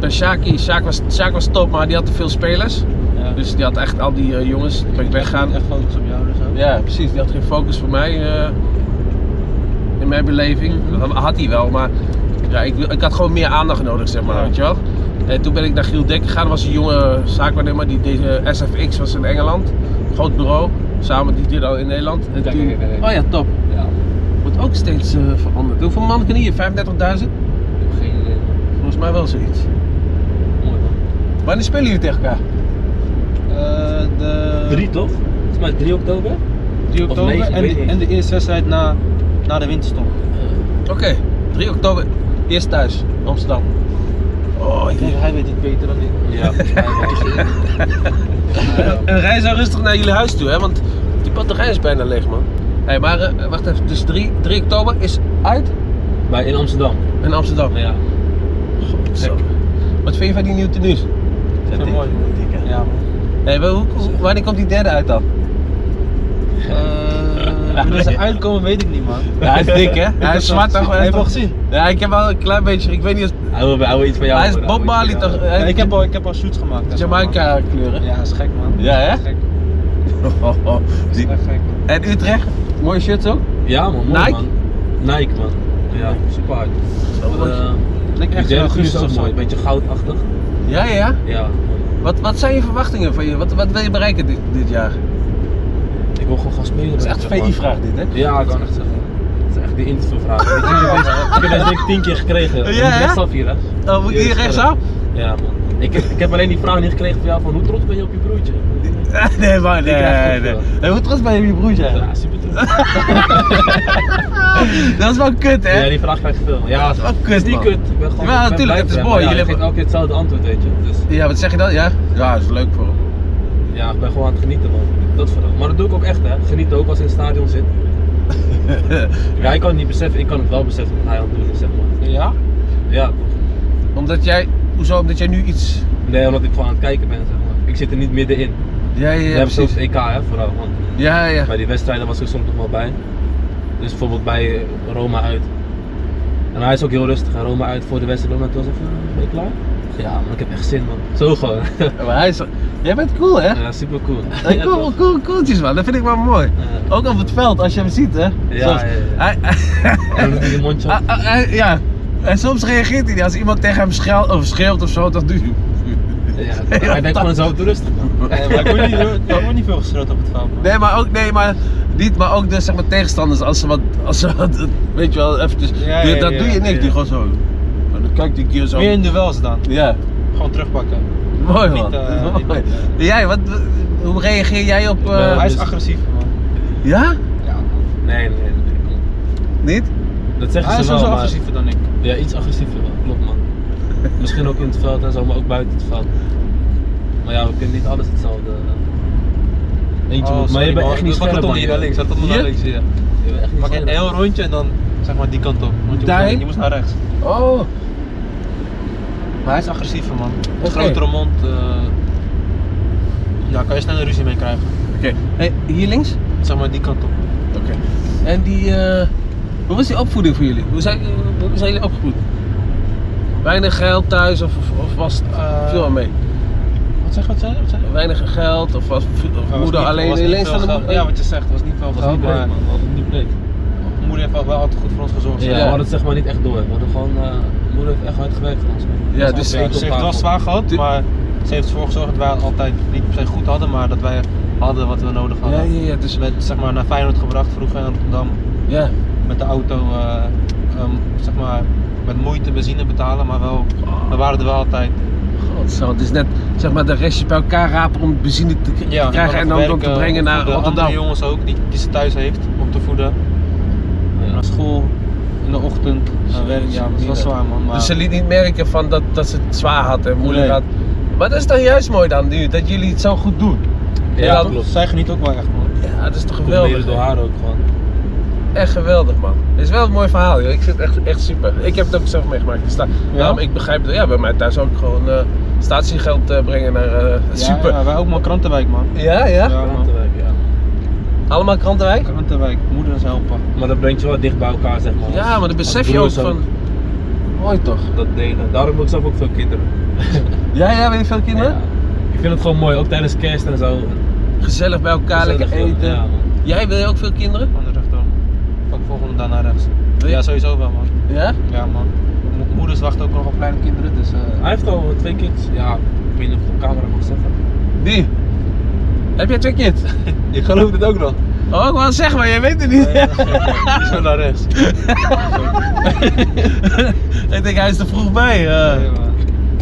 Speaker 1: bij Sjaak, Sjaak was, Sjaak was top, maar die had te veel spelers.
Speaker 3: Ja.
Speaker 1: Dus die had echt al die eh, jongens, toen ben ik weggegaan.
Speaker 3: Echt focus op jou dus ook.
Speaker 1: Ja, precies, die had geen focus voor mij eh, in mijn beleving. Dat had hij wel, maar ja, ik, ik had gewoon meer aandacht nodig, zeg maar,
Speaker 3: Ja.
Speaker 1: weet je wel. En toen ben ik naar Giel Dekker gegaan, dat was een jonge zaakwaarnemer, die deed eh, SFX, was in Engeland. Groot bureau, samen die deed al in Nederland. En
Speaker 2: Ja,
Speaker 1: toen-
Speaker 2: ja, ja, ja.
Speaker 1: Oh ja, top.
Speaker 2: Ja,
Speaker 1: Wordt ook steeds eh, veranderd. Hoeveel man kan hier? 35.000?
Speaker 2: ik heb geen idee. man.
Speaker 1: Volgens mij wel zoiets.
Speaker 2: Mooi man.
Speaker 1: Wanneer spelen jullie tegen elkaar?
Speaker 3: Eh, de...
Speaker 2: Drie toch? Volgens mij 3 oktober.
Speaker 3: 3 oktober
Speaker 2: negen, ik
Speaker 3: en,
Speaker 2: weet
Speaker 3: de,
Speaker 2: niet.
Speaker 3: en de eerste wedstrijd na, na de winterstop.
Speaker 1: Oké, 3 oktober. Eerst thuis, Amsterdam. Oh,
Speaker 3: Kijk,
Speaker 1: hier.
Speaker 3: hij weet het beter dan ik.
Speaker 2: Ja.
Speaker 1: En Eh, rij zo rustig naar jullie huis toe, hè? Want die batterij is bijna leeg, man. Hé, hey, maar eh, wacht even. Dus 3, 3 oktober is uit
Speaker 2: Bij in Amsterdam.
Speaker 1: in Amsterdam.
Speaker 2: Ja.
Speaker 1: Zo. Wat vind je van die nieuwe tenues?
Speaker 3: Dat is mooi. Ja man.
Speaker 1: Hé, wa- hoe- hoe- wanneer komt die derde uit dan?
Speaker 3: Eh, Wanneer ze uitkomen weet ik niet man.
Speaker 1: Ja, hij is dik, hè? Eh, Hij is zwart, toch?
Speaker 3: Heb je hem al gezien?
Speaker 1: Ja, ik heb wel een klein beetje. Ik weet niet. of-
Speaker 2: Hij wil, hij wil iets van jou
Speaker 1: Hij is
Speaker 2: horen,
Speaker 1: Bob
Speaker 2: wil
Speaker 1: Marley
Speaker 2: iets van jou
Speaker 1: toch?
Speaker 2: horen.
Speaker 1: Hij
Speaker 3: Ja,
Speaker 1: is
Speaker 3: ik, heb al, ik heb al shoots gemaakt. dat is wel, man.
Speaker 1: Jamaica kleuren. Oh,
Speaker 3: Ja, dat is gek man.
Speaker 1: Ja, hè?
Speaker 3: Dat is gek. Dat is
Speaker 1: Die-
Speaker 3: echt gek.
Speaker 1: En Utrecht? Mooie shirts ook?
Speaker 2: Ja man, mooi
Speaker 1: Nike?
Speaker 2: man. Nike man. Ja, super hard.
Speaker 1: mooi.
Speaker 2: Eh,
Speaker 3: Lijkt
Speaker 2: Die
Speaker 3: echt
Speaker 2: derde
Speaker 3: een
Speaker 2: kleur is ook
Speaker 3: augustus
Speaker 2: mooi,
Speaker 3: mooi.
Speaker 2: een beetje goudachtig.
Speaker 1: Ja, ja, ja.
Speaker 2: Ja,
Speaker 1: Wat, wat zijn je verwachtingen van je? Wat, wat wil je bereiken dit, dit jaar? Het
Speaker 2: ik wil gewoon gaan spelen.
Speaker 1: is echt een VI-vraag dit, hè?
Speaker 2: Ja, ik kan echt zeggen. Het is echt die interviewvraag. Ik heb deze- ik heb deze denk tien keer gekregen.
Speaker 1: Ja, hè?
Speaker 2: Rechtsaf hier, hè?
Speaker 1: Oh, moet ik hier
Speaker 2: Eerst, eh,
Speaker 1: rechtsaf?
Speaker 2: Ja, man. Ik heb, ik heb alleen die vraag niet gekregen van jou van hoe trots ben je op je broertje?
Speaker 1: Nee, maar
Speaker 2: krijg
Speaker 1: nee,
Speaker 2: het
Speaker 1: nee.
Speaker 2: wel.
Speaker 1: Hey, Hoe trots ben je op je broertje?
Speaker 2: Ja, super trots.
Speaker 1: Dat is wel kut, hè?
Speaker 2: Ja, die vraag krijg je veel. Ja,
Speaker 1: Dat is wel kut,
Speaker 2: die
Speaker 1: man.
Speaker 2: kut. Ik ben gewoon,
Speaker 1: Ja,
Speaker 2: ik ben
Speaker 1: tuurlijk,
Speaker 2: blij
Speaker 1: het is
Speaker 2: voor hem,
Speaker 1: mooi.
Speaker 2: maar Ja,
Speaker 1: Jullie
Speaker 2: je geeft
Speaker 1: hebben-
Speaker 2: elke keer hetzelfde antwoord, weet je. Dus
Speaker 1: Ja, wat zeg je dan? Ja? Ja, is leuk voor hem.
Speaker 2: ja, ik ben gewoon aan het genieten, man. Dat vooral. Maar dat doe ik ook echt, hè. Geniet ook als je in het stadion zit. ja, ik kan het niet beseffen. Ik kan het wel beseffen wat hij aan het doen is, zeg maar.
Speaker 1: Ja?
Speaker 2: Ja.
Speaker 1: Omdat jij, hoezo? Omdat jij nu iets...
Speaker 2: Nee, omdat ik gewoon aan het kijken ben, zeg maar. Ik zit er niet middenin.
Speaker 1: Ja, ja,
Speaker 2: We
Speaker 1: ja,
Speaker 2: hebben
Speaker 1: precies.
Speaker 2: zelfs EK, hè, vooral. Man.
Speaker 1: eh, Ja, ja.
Speaker 2: Bij die wedstrijden was ik er soms nog wel bij. Dus bijvoorbeeld bij eh, Roma uit. En hij is ook heel rustig. En Roma uit voor de wedstrijd. Roma was even, eh, ben je klaar? Ja, man, ik heb echt zin, man. Zo gewoon.
Speaker 1: Maar hij is... Jij bent cool, hè?
Speaker 2: ja, super cool.
Speaker 1: Hey, cool, cool, cooltjes, man. Dat vind ik wel mooi. Ook op het veld, als je hem ziet, hè?
Speaker 2: Ja,
Speaker 1: Soms-
Speaker 2: ja, ja.
Speaker 1: Hij,
Speaker 2: En dan doet hij je mondje
Speaker 1: Ah,
Speaker 2: op.
Speaker 1: ah, ah, ja. En soms reageert hij niet. Als iemand tegen hem schreeuwt of, schreeuwt of zo, dan doet hij...
Speaker 2: Ja, hij denkt gewoon zo te rustig, man.
Speaker 3: Eh, maar ik word niet, er wordt niet veel geschreeuwd op het veld. man.
Speaker 1: Nee, maar ook, nee, maar niet, maar ook de zeg maar, tegenstanders als ze wat, als ze wat, weet je wel, eventjes,
Speaker 3: Ja,
Speaker 1: die-
Speaker 3: ja,
Speaker 1: dat
Speaker 3: ja,
Speaker 1: doe je niks,
Speaker 3: ja.
Speaker 1: die gewoon zo. Maar dan kijkt die keer zo.
Speaker 3: Meer in duels dan.
Speaker 1: Ja,
Speaker 3: Gewoon terugpakken.
Speaker 1: mooi man.
Speaker 3: Niet, eh,
Speaker 1: Mooi.
Speaker 3: niet, eh,
Speaker 1: Jij, wat, hoe reageer jij op, eh,
Speaker 2: Ja,
Speaker 3: hij is
Speaker 2: dus-
Speaker 3: agressief man.
Speaker 1: ja?
Speaker 3: Ja,
Speaker 2: Nee, nee, nee. kom.
Speaker 1: Niet?
Speaker 2: Dat zeggen
Speaker 3: hij is
Speaker 2: ze wel,
Speaker 3: sowieso
Speaker 2: maar-
Speaker 3: agressiever dan ik.
Speaker 2: Ja, iets agressiever wel. Klopt, man. Misschien ook in het veld en zo, maar ook buiten het veld. Maar ja, we kunnen niet alles hetzelfde. Eentje
Speaker 3: Oh,
Speaker 2: moet, maar
Speaker 3: sorry,
Speaker 2: je bent
Speaker 3: man.
Speaker 2: echt niet
Speaker 3: Dat gaat
Speaker 2: scherp,
Speaker 3: tot
Speaker 2: man.
Speaker 3: onder hier naar links, dat tot onder
Speaker 1: Hier?
Speaker 3: naar links. Ja.
Speaker 2: Je bent echt niet
Speaker 3: Pak een
Speaker 2: scherp.
Speaker 3: heel rondje en dan zeg maar die kant op. Want je,
Speaker 1: Daarheen?
Speaker 3: moest, je moest naar rechts.
Speaker 1: Oh,
Speaker 3: Maar hij is agressiever man.
Speaker 1: Oké.
Speaker 3: Grotere mond. eh, ja, kan je snel een ruzie mee krijgen.
Speaker 1: oké. Hey, hier links?
Speaker 3: Zeg maar die kant op.
Speaker 1: Oké. En die, eh, hoe was die opvoeding voor jullie? Hoe zijn, eh, hoe zijn jullie opgevoed? Weinig geld thuis of, of, of was het
Speaker 3: Eh,
Speaker 1: veel aan mee?
Speaker 3: Wat zeg je? Wat zei je? Wat zei je?
Speaker 1: Weinig geld of was of
Speaker 3: Maar Nou, was
Speaker 1: moeder
Speaker 3: niet-
Speaker 1: alleen
Speaker 3: was niet
Speaker 1: alleen
Speaker 3: veel
Speaker 1: staan de
Speaker 3: geld.
Speaker 1: moeder?
Speaker 3: Ja, wat je zegt, was niet veel
Speaker 2: Dat was
Speaker 3: geld,
Speaker 2: niet breed,
Speaker 3: maar
Speaker 2: man. Dat was niet breed.
Speaker 3: moeder heeft wel wel altijd goed voor ons gezorgd.
Speaker 2: Ja,
Speaker 3: zeg
Speaker 2: we
Speaker 3: maar.
Speaker 2: hadden het zeg maar niet echt door. We hadden gewoon, eh, moeder heeft echt hard gewerkt voor ons.
Speaker 1: Ja,
Speaker 2: Dat
Speaker 1: dus
Speaker 2: was
Speaker 3: Ze
Speaker 2: wel
Speaker 3: heeft ze heeft
Speaker 2: op
Speaker 3: het wel
Speaker 2: tafel.
Speaker 3: zwaar gehad,
Speaker 1: Tu-
Speaker 3: maar ze heeft ervoor gezorgd dat wij altijd niet per se goed hadden, maar dat wij hadden wat we nodig
Speaker 1: Ja,
Speaker 3: hadden.
Speaker 1: ja, ja, dus
Speaker 3: Ze werd zeg maar, naar Feyenoord gebracht vroeger in Rotterdam.
Speaker 1: ja.
Speaker 3: Met de auto, eh, ehm, zeg maar, met moeite benzine betalen, maar wel, we waren er wel altijd.
Speaker 1: God, zo, het is net zeg maar de restjes bij elkaar rapen om benzine te k- te
Speaker 3: we
Speaker 1: krijgen
Speaker 3: waren
Speaker 1: en
Speaker 3: te
Speaker 1: dan
Speaker 3: werken,
Speaker 1: door te brengen naar
Speaker 3: opvoeden.
Speaker 1: Rotterdam.
Speaker 3: Andere jongens ook, die, die ze thuis heeft om te voeden.
Speaker 2: Ja.
Speaker 3: Naar school, in de ochtend, naar werk. Ja, dat is wel zwaar man. Maar...
Speaker 1: Dus ze liet niet merken van dat, dat ze het zwaar had en moeilijk
Speaker 3: Nee.
Speaker 1: had. Maar dat is dan juist mooi dan nu, dat jullie het zo goed doen.
Speaker 2: Ja,
Speaker 1: Ja,
Speaker 2: klopt.
Speaker 3: Zij geniet ook wel echt man.
Speaker 1: Ja, dat is toch
Speaker 2: Komt mede
Speaker 1: geweldig.
Speaker 2: door haar ook gewoon.
Speaker 1: Echt geweldig man. Het is wel een mooi verhaal joh. ik vind het echt, echt super. Ik heb het ook zelf meegemaakt. Dus daar- daarom, ik begrijp dat, ja bij mij thuis ook gewoon eh, statiegeld eh, brengen naar eh, super.
Speaker 3: Ja, ja, wij ook man, Krantenwijk man.
Speaker 1: Ja, ja?
Speaker 3: Ja, man.
Speaker 2: Krantenwijk, ja.
Speaker 1: Allemaal krantenwijk?
Speaker 3: Krantenwijk, moeders helpen.
Speaker 2: Maar dat brengt je wel dicht bij elkaar, zeg maar.
Speaker 1: Ja,
Speaker 2: Als-
Speaker 1: maar dan
Speaker 2: als
Speaker 1: besef je ook
Speaker 2: broers
Speaker 1: van... Mooi toch?
Speaker 2: Dat delen. Daarom heb ik zelf ook veel kinderen.
Speaker 1: Ja, ja, weet je veel kinderen?
Speaker 2: Ja. Ik vind het gewoon mooi, ook tijdens kerst en zo.
Speaker 1: Gezellig bij elkaar,
Speaker 2: Gezellig,
Speaker 1: lekker eten.
Speaker 2: Ja, man.
Speaker 1: Jij wil je ook veel kinderen?
Speaker 3: Van de rechtdoor. Pak volgende dan naar rechts.
Speaker 1: Wil je-
Speaker 3: Ja, sowieso wel man.
Speaker 1: Ja?
Speaker 3: Ja man. Mo- moeders wachten ook nog op kleine kinderen, dus eh,
Speaker 2: Hij heeft al twee kids. Ja, ik weet niet of ik het op camera mag zeggen.
Speaker 1: Die? Heb jij twee kids?
Speaker 3: je gelooft het ook nog.
Speaker 1: Oh, ik wou het zeggen, maar jij weet het niet.
Speaker 3: Die is wel naar rechts.
Speaker 1: ik denk, hij is te vroeg bij. eh.
Speaker 3: Ja, man.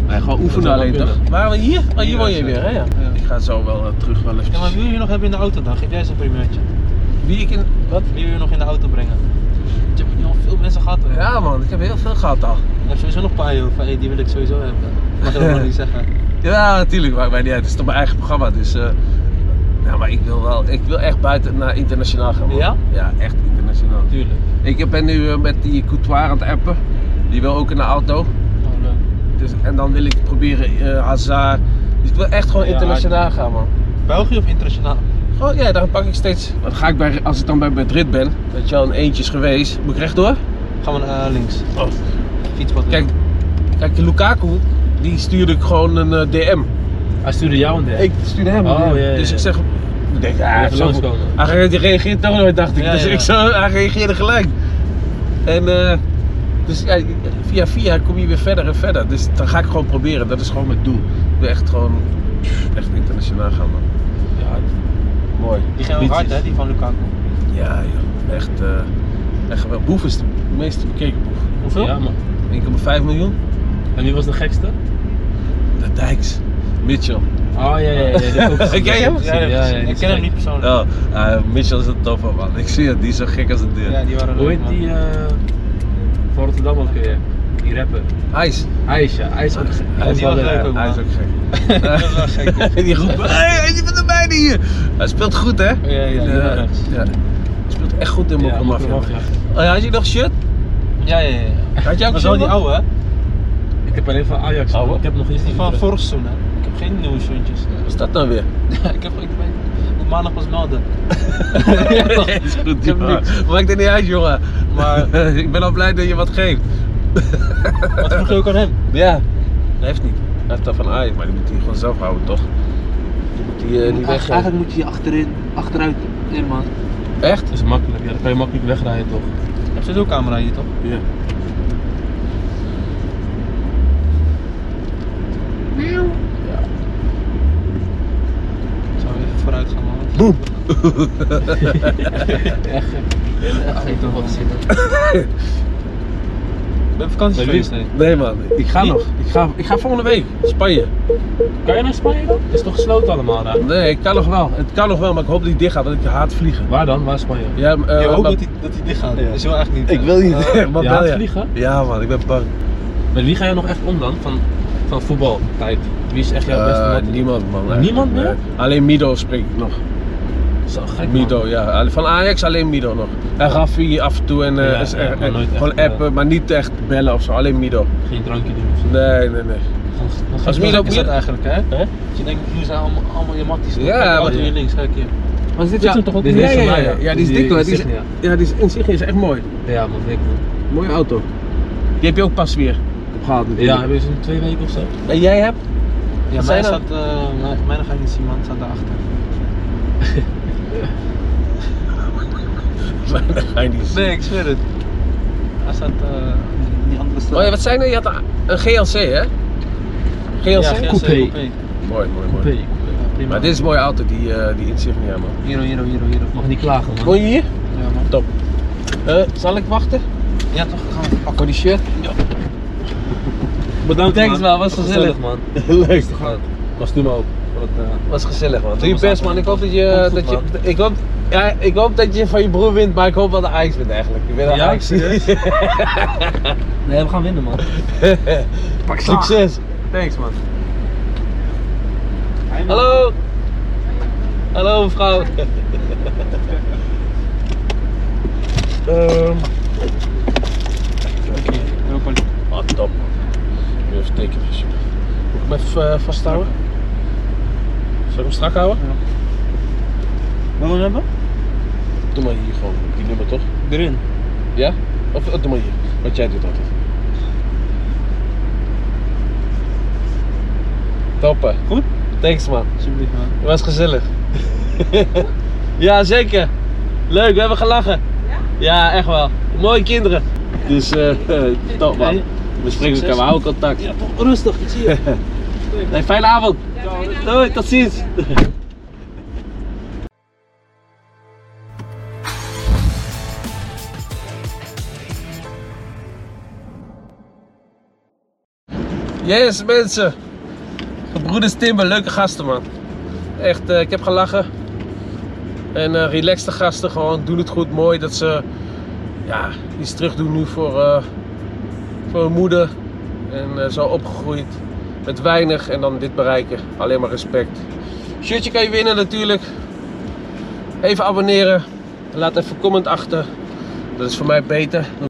Speaker 1: Hij gewoon
Speaker 2: oefenen alleen, toch?
Speaker 1: Waren we hier? Oh, hier
Speaker 3: Hier
Speaker 1: woon
Speaker 3: is
Speaker 1: je
Speaker 3: het.
Speaker 1: weer, hè? Ja.
Speaker 3: Ja.
Speaker 1: Ik ga zo wel eh, terug wel even.
Speaker 3: Ja, maar wie wil je nog hebben in de auto dan? Geef jij eens een primeurtje.
Speaker 1: Wie ik in... Wat?
Speaker 3: Wie wil je nog in de auto brengen? Je hebt nu al veel mensen gehad hoor. Je
Speaker 1: Ja man, ik heb heel veel gehad al.
Speaker 3: hebt sowieso nog een paar joh, van hey, die wil ik sowieso hebben. Mag je dat nog niet zeggen.
Speaker 1: Ja, natuurlijk, maakt mij niet uit. Het is toch mijn eigen programma, dus... eh, ja, maar ik wil wel... Ik wil echt buiten naar internationaal gaan, man.
Speaker 3: Ja?
Speaker 1: Ja, echt internationaal.
Speaker 2: Tuurlijk.
Speaker 1: Ik ben nu eh, met die coutoir aan het appen. Die wil ook in de auto.
Speaker 3: Oh, leuk.
Speaker 1: Dus, en dan wil ik proberen eh Hazard. Dus ik wil echt gewoon
Speaker 3: Ja,
Speaker 1: internationaal gaan, man.
Speaker 3: België of internationaal?
Speaker 1: Gewoon, ja, dan pak ik steeds. Dan ga ik bij, als ik dan bij Madrid ben, weet je wel, in eentjes geweest, moet ik rechtdoor.
Speaker 3: Gaan we naar eh, links.
Speaker 1: Oh.
Speaker 3: Fietspad.
Speaker 1: Kijk, kijk, die Lukaku, die stuurde ik gewoon een eh, DM.
Speaker 2: Hij stuurde jou een ding.
Speaker 1: Ik stuurde hem een
Speaker 2: Oh,
Speaker 1: DM.
Speaker 2: ja, ja,
Speaker 1: Dus
Speaker 2: ja.
Speaker 1: ik zeg, ik denk, ja,
Speaker 2: Even
Speaker 1: zo-
Speaker 2: langskomen.
Speaker 1: hij re- die reageert toch nooit, dacht ik.
Speaker 3: Ja,
Speaker 1: dus
Speaker 3: ja.
Speaker 1: ik zo, hij reageerde gelijk. En eh, dus ja, via via kom je weer verder en verder. Dus dan ga ik gewoon proberen. Dat is gewoon mijn doel. Ik wil echt gewoon echt internationaal gaan, man.
Speaker 2: Ja,
Speaker 1: Mooi.
Speaker 3: Die gaan wel hard hè, die van Lukaku.
Speaker 1: Ja, joh. Echt, eh echt geweldig. Boef is de meest bekeken boef.
Speaker 3: Hoeveel?
Speaker 2: ja, man.
Speaker 1: 1,5 miljoen.
Speaker 2: En wie was de gekste?
Speaker 1: De Dijks. Mitchell.
Speaker 2: Oh ja, ja, ja. die heb ik ook gezien.
Speaker 1: Ken je hem?
Speaker 2: Ja,
Speaker 3: Ja,
Speaker 2: ja, ja, die
Speaker 3: ik
Speaker 2: is
Speaker 3: ken hem
Speaker 2: gek.
Speaker 3: niet persoonlijk.
Speaker 1: Oh, eh, Michel is een toffe man. Ik zie het, die is zo gek als een deur.
Speaker 3: Ja, die waren
Speaker 2: Hoe
Speaker 3: leuk,
Speaker 2: heet
Speaker 3: man.
Speaker 2: die eh, van Rotterdam ook weer? Die rapper.
Speaker 1: Ice.
Speaker 2: Aisha, Aisha ook.
Speaker 3: Ja, die was leuk ook,
Speaker 1: Hij is
Speaker 3: man.
Speaker 1: ook gek.
Speaker 3: Dat is wel gek. ja.
Speaker 1: die roept, hey, je bent erbij hier. Hij speelt goed, hè?
Speaker 3: Ja, ja,
Speaker 1: En, eh,
Speaker 3: ja.
Speaker 1: ja. Hij speelt echt goed in Mokko Mafia.
Speaker 2: Ja,
Speaker 1: Oh, ja, had je nog shit?
Speaker 3: Ja, ja, ja.
Speaker 1: Had jij
Speaker 3: Dat
Speaker 1: ook
Speaker 3: was wel
Speaker 1: shit?
Speaker 3: die
Speaker 1: man?
Speaker 3: oude, hè?
Speaker 2: Ik heb alleen van Ajax.
Speaker 3: Oh, wat?
Speaker 2: ik heb nog iets
Speaker 3: Die
Speaker 2: niet
Speaker 3: van
Speaker 2: terug.
Speaker 3: vorig seizoen, hè? Ik heb geen nieuwe schoentjes.
Speaker 1: Wat is dat nou weer?
Speaker 3: ik heb ik ben- moet maandag pas melden.
Speaker 1: is goed,
Speaker 3: Ik heb
Speaker 1: jongen. Maakt het niet uit, jongen. Maar eh, ik ben al blij dat je wat geeft.
Speaker 3: Wat vroeg je ook aan hem?
Speaker 1: Ja. Dat heeft niet. Hij heeft dat van Ajax, maar die moet hij gewoon zelf houden, toch? Die moet hij eh, niet weggeven.
Speaker 2: moet je achterin, achteruit in man.
Speaker 1: Echt?
Speaker 2: Dat is makkelijk, ja, dan kan je makkelijk wegrijden toch?
Speaker 3: Heb ze ook camera hier toch?
Speaker 2: Ja.
Speaker 3: Zou even vooruit gaan, man.
Speaker 2: Echt gek toch wel zitten.
Speaker 3: Ik ben op vakantie
Speaker 2: Bij
Speaker 3: geweest, nee.
Speaker 1: Nee, man. Ik ga
Speaker 2: Niet?
Speaker 1: nog. Ik ga, ik ga volgende week. Spanje.
Speaker 2: Kan je naar Spanje dan? Het is toch gesloten allemaal daar?
Speaker 1: Nee, ik kan nog wel. Het kan nog wel, maar ik hoop dat hij dicht gaat, want ik haat vliegen.
Speaker 2: Waar dan? Waar is Spanje?
Speaker 1: Ja, eh,
Speaker 3: Je hoopt
Speaker 1: maar-
Speaker 3: dat die, dat die dicht gaat.
Speaker 1: Ja.
Speaker 3: Dat is wel eigenlijk niet.
Speaker 1: Ik wil niet.
Speaker 3: Eh,
Speaker 1: maar
Speaker 2: je
Speaker 1: bel
Speaker 2: haat
Speaker 1: je.
Speaker 2: vliegen?
Speaker 1: Ja, man. Ik ben bang.
Speaker 2: Met wie ga je nog echt om dan? Van, van voetbaltijd? Wie is echt jouw beste
Speaker 1: Eh,
Speaker 2: man?
Speaker 1: niemand, man.
Speaker 2: Niemand
Speaker 1: eigenlijk,
Speaker 2: meer?
Speaker 1: nee. Alleen Mido spreek ik nog.
Speaker 2: Zo gek man.
Speaker 1: Mido, ja. Van Ajax alleen Mido nog. En Raffi af en toe en, eh,
Speaker 2: Ja,
Speaker 1: is-
Speaker 2: ja,
Speaker 1: eh,
Speaker 2: maar
Speaker 1: eh,
Speaker 2: nooit echt,
Speaker 1: gewoon
Speaker 2: eh,
Speaker 1: appen, maar niet echt bellen of zo. Alleen Mido.
Speaker 2: Geen drankje doen of zo.
Speaker 1: Nee, nee, nee.
Speaker 2: Gewoon- gewoon gek
Speaker 1: Als
Speaker 2: man.
Speaker 1: Mido
Speaker 3: Is dat eigenlijk, hè? Dus je denkt, hier zijn allemaal, allemaal je matties. toch?
Speaker 1: Ja,
Speaker 3: Kijk, die
Speaker 1: maar-
Speaker 2: Oh,
Speaker 3: auto hier links, kijk hier.
Speaker 1: Was dit
Speaker 2: Dit is hem toch ook? Dit is
Speaker 1: ja,
Speaker 2: deze
Speaker 1: ja,
Speaker 2: van
Speaker 1: ja,
Speaker 2: mij,
Speaker 1: ja.
Speaker 2: ja.
Speaker 1: Ja, die is
Speaker 2: Die
Speaker 1: dik hoor. Die is,
Speaker 2: Insignia.
Speaker 1: ja, die is, Insignia is echt mooi.
Speaker 2: Ja man, dik man.
Speaker 1: Mooie auto. Die heb je ook pas weer opgehaald
Speaker 2: Ja,
Speaker 1: natuurlijk.
Speaker 2: hebben ze in twee weken of zo?
Speaker 1: En jij hebt?
Speaker 3: Ja,
Speaker 1: Zijn
Speaker 3: mij
Speaker 1: er-
Speaker 3: staat, eh, mij- mij ga ik niet zien, man. Het staat daarachter.
Speaker 1: Dat ga je niet zien.
Speaker 3: Nee, ik zweer het. Hij staat eh in die andere straat.
Speaker 1: Maar wat zijn er? Je had een- een GLC hè?
Speaker 3: Ja,
Speaker 1: GLC?
Speaker 3: GLC,
Speaker 2: Coupé.
Speaker 1: Mooi, mooi, mooi.
Speaker 2: Twee.
Speaker 3: Ja, prima.
Speaker 1: Maar dit is een mooie auto, die, eh, die Insignia man.
Speaker 3: Hero, hero, hero, hero.
Speaker 2: Mag niet klagen man.
Speaker 1: Woon je hier?
Speaker 3: Ja, man.
Speaker 1: Top. Eh, zal ik wachten?
Speaker 3: Ja, toch? Gaan we pakken.
Speaker 1: Voor die shirt?
Speaker 2: Bedankt
Speaker 1: Thanks, man. Was gezellig.
Speaker 2: man.
Speaker 1: Leuk.
Speaker 2: Was toen maar ook. Wat, eh,
Speaker 1: Was gezellig man. Doe je
Speaker 2: Thomas
Speaker 1: best man.
Speaker 2: Apple.
Speaker 1: Ik hoop dat je,
Speaker 2: Komt
Speaker 1: dat
Speaker 2: goed,
Speaker 1: je, ik hoop, ja, ik hoop dat je van je broer wint, maar ik hoop wel de Ajax wint eigenlijk. Ik ben een
Speaker 2: Ja,
Speaker 1: Ajax.
Speaker 2: serieus? Nee, we gaan winnen man.
Speaker 1: Pak Succes.
Speaker 2: Thanks man.
Speaker 1: Hallo. Hallo mevrouw. Ehm.
Speaker 3: Europa League.
Speaker 1: Wat Ah, top man. Nu even tekenen alsjeblieft. Moet ik hem even eh, vasthouden? Zal ik hem strak houden?
Speaker 3: Wil je hem hebben?
Speaker 1: Doe maar hier gewoon. Die nummer toch?
Speaker 3: Erin.
Speaker 1: Ja? Of eh, doe maar hier. Want jij doet altijd. Toppen.
Speaker 3: Goed?
Speaker 1: Thanks man.
Speaker 3: Alsjeblieft, man.
Speaker 1: Het was gezellig. ja, zeker. Leuk, we hebben gelachen. Ja? echt wel. Mooie kinderen. Dus eh top man. We spreken elkaar, we houden contact. Ja, toch rustig, ik zie je. nee, fijne avond. Doei, tot ziens. Yes mensen, gebroeders Timber, leuke gasten man. Echt, eh, ik heb gelachen. En eh relaxte gasten, gewoon doen het goed. Mooi dat ze ja, iets terug doen nu voor, eh, voor hun moeder. En eh, zo opgegroeid met weinig en dan dit bereiken. Alleen maar respect. Shirtje kan je winnen natuurlijk. Even abonneren. Laat even comment achter. Dat is voor mij beter.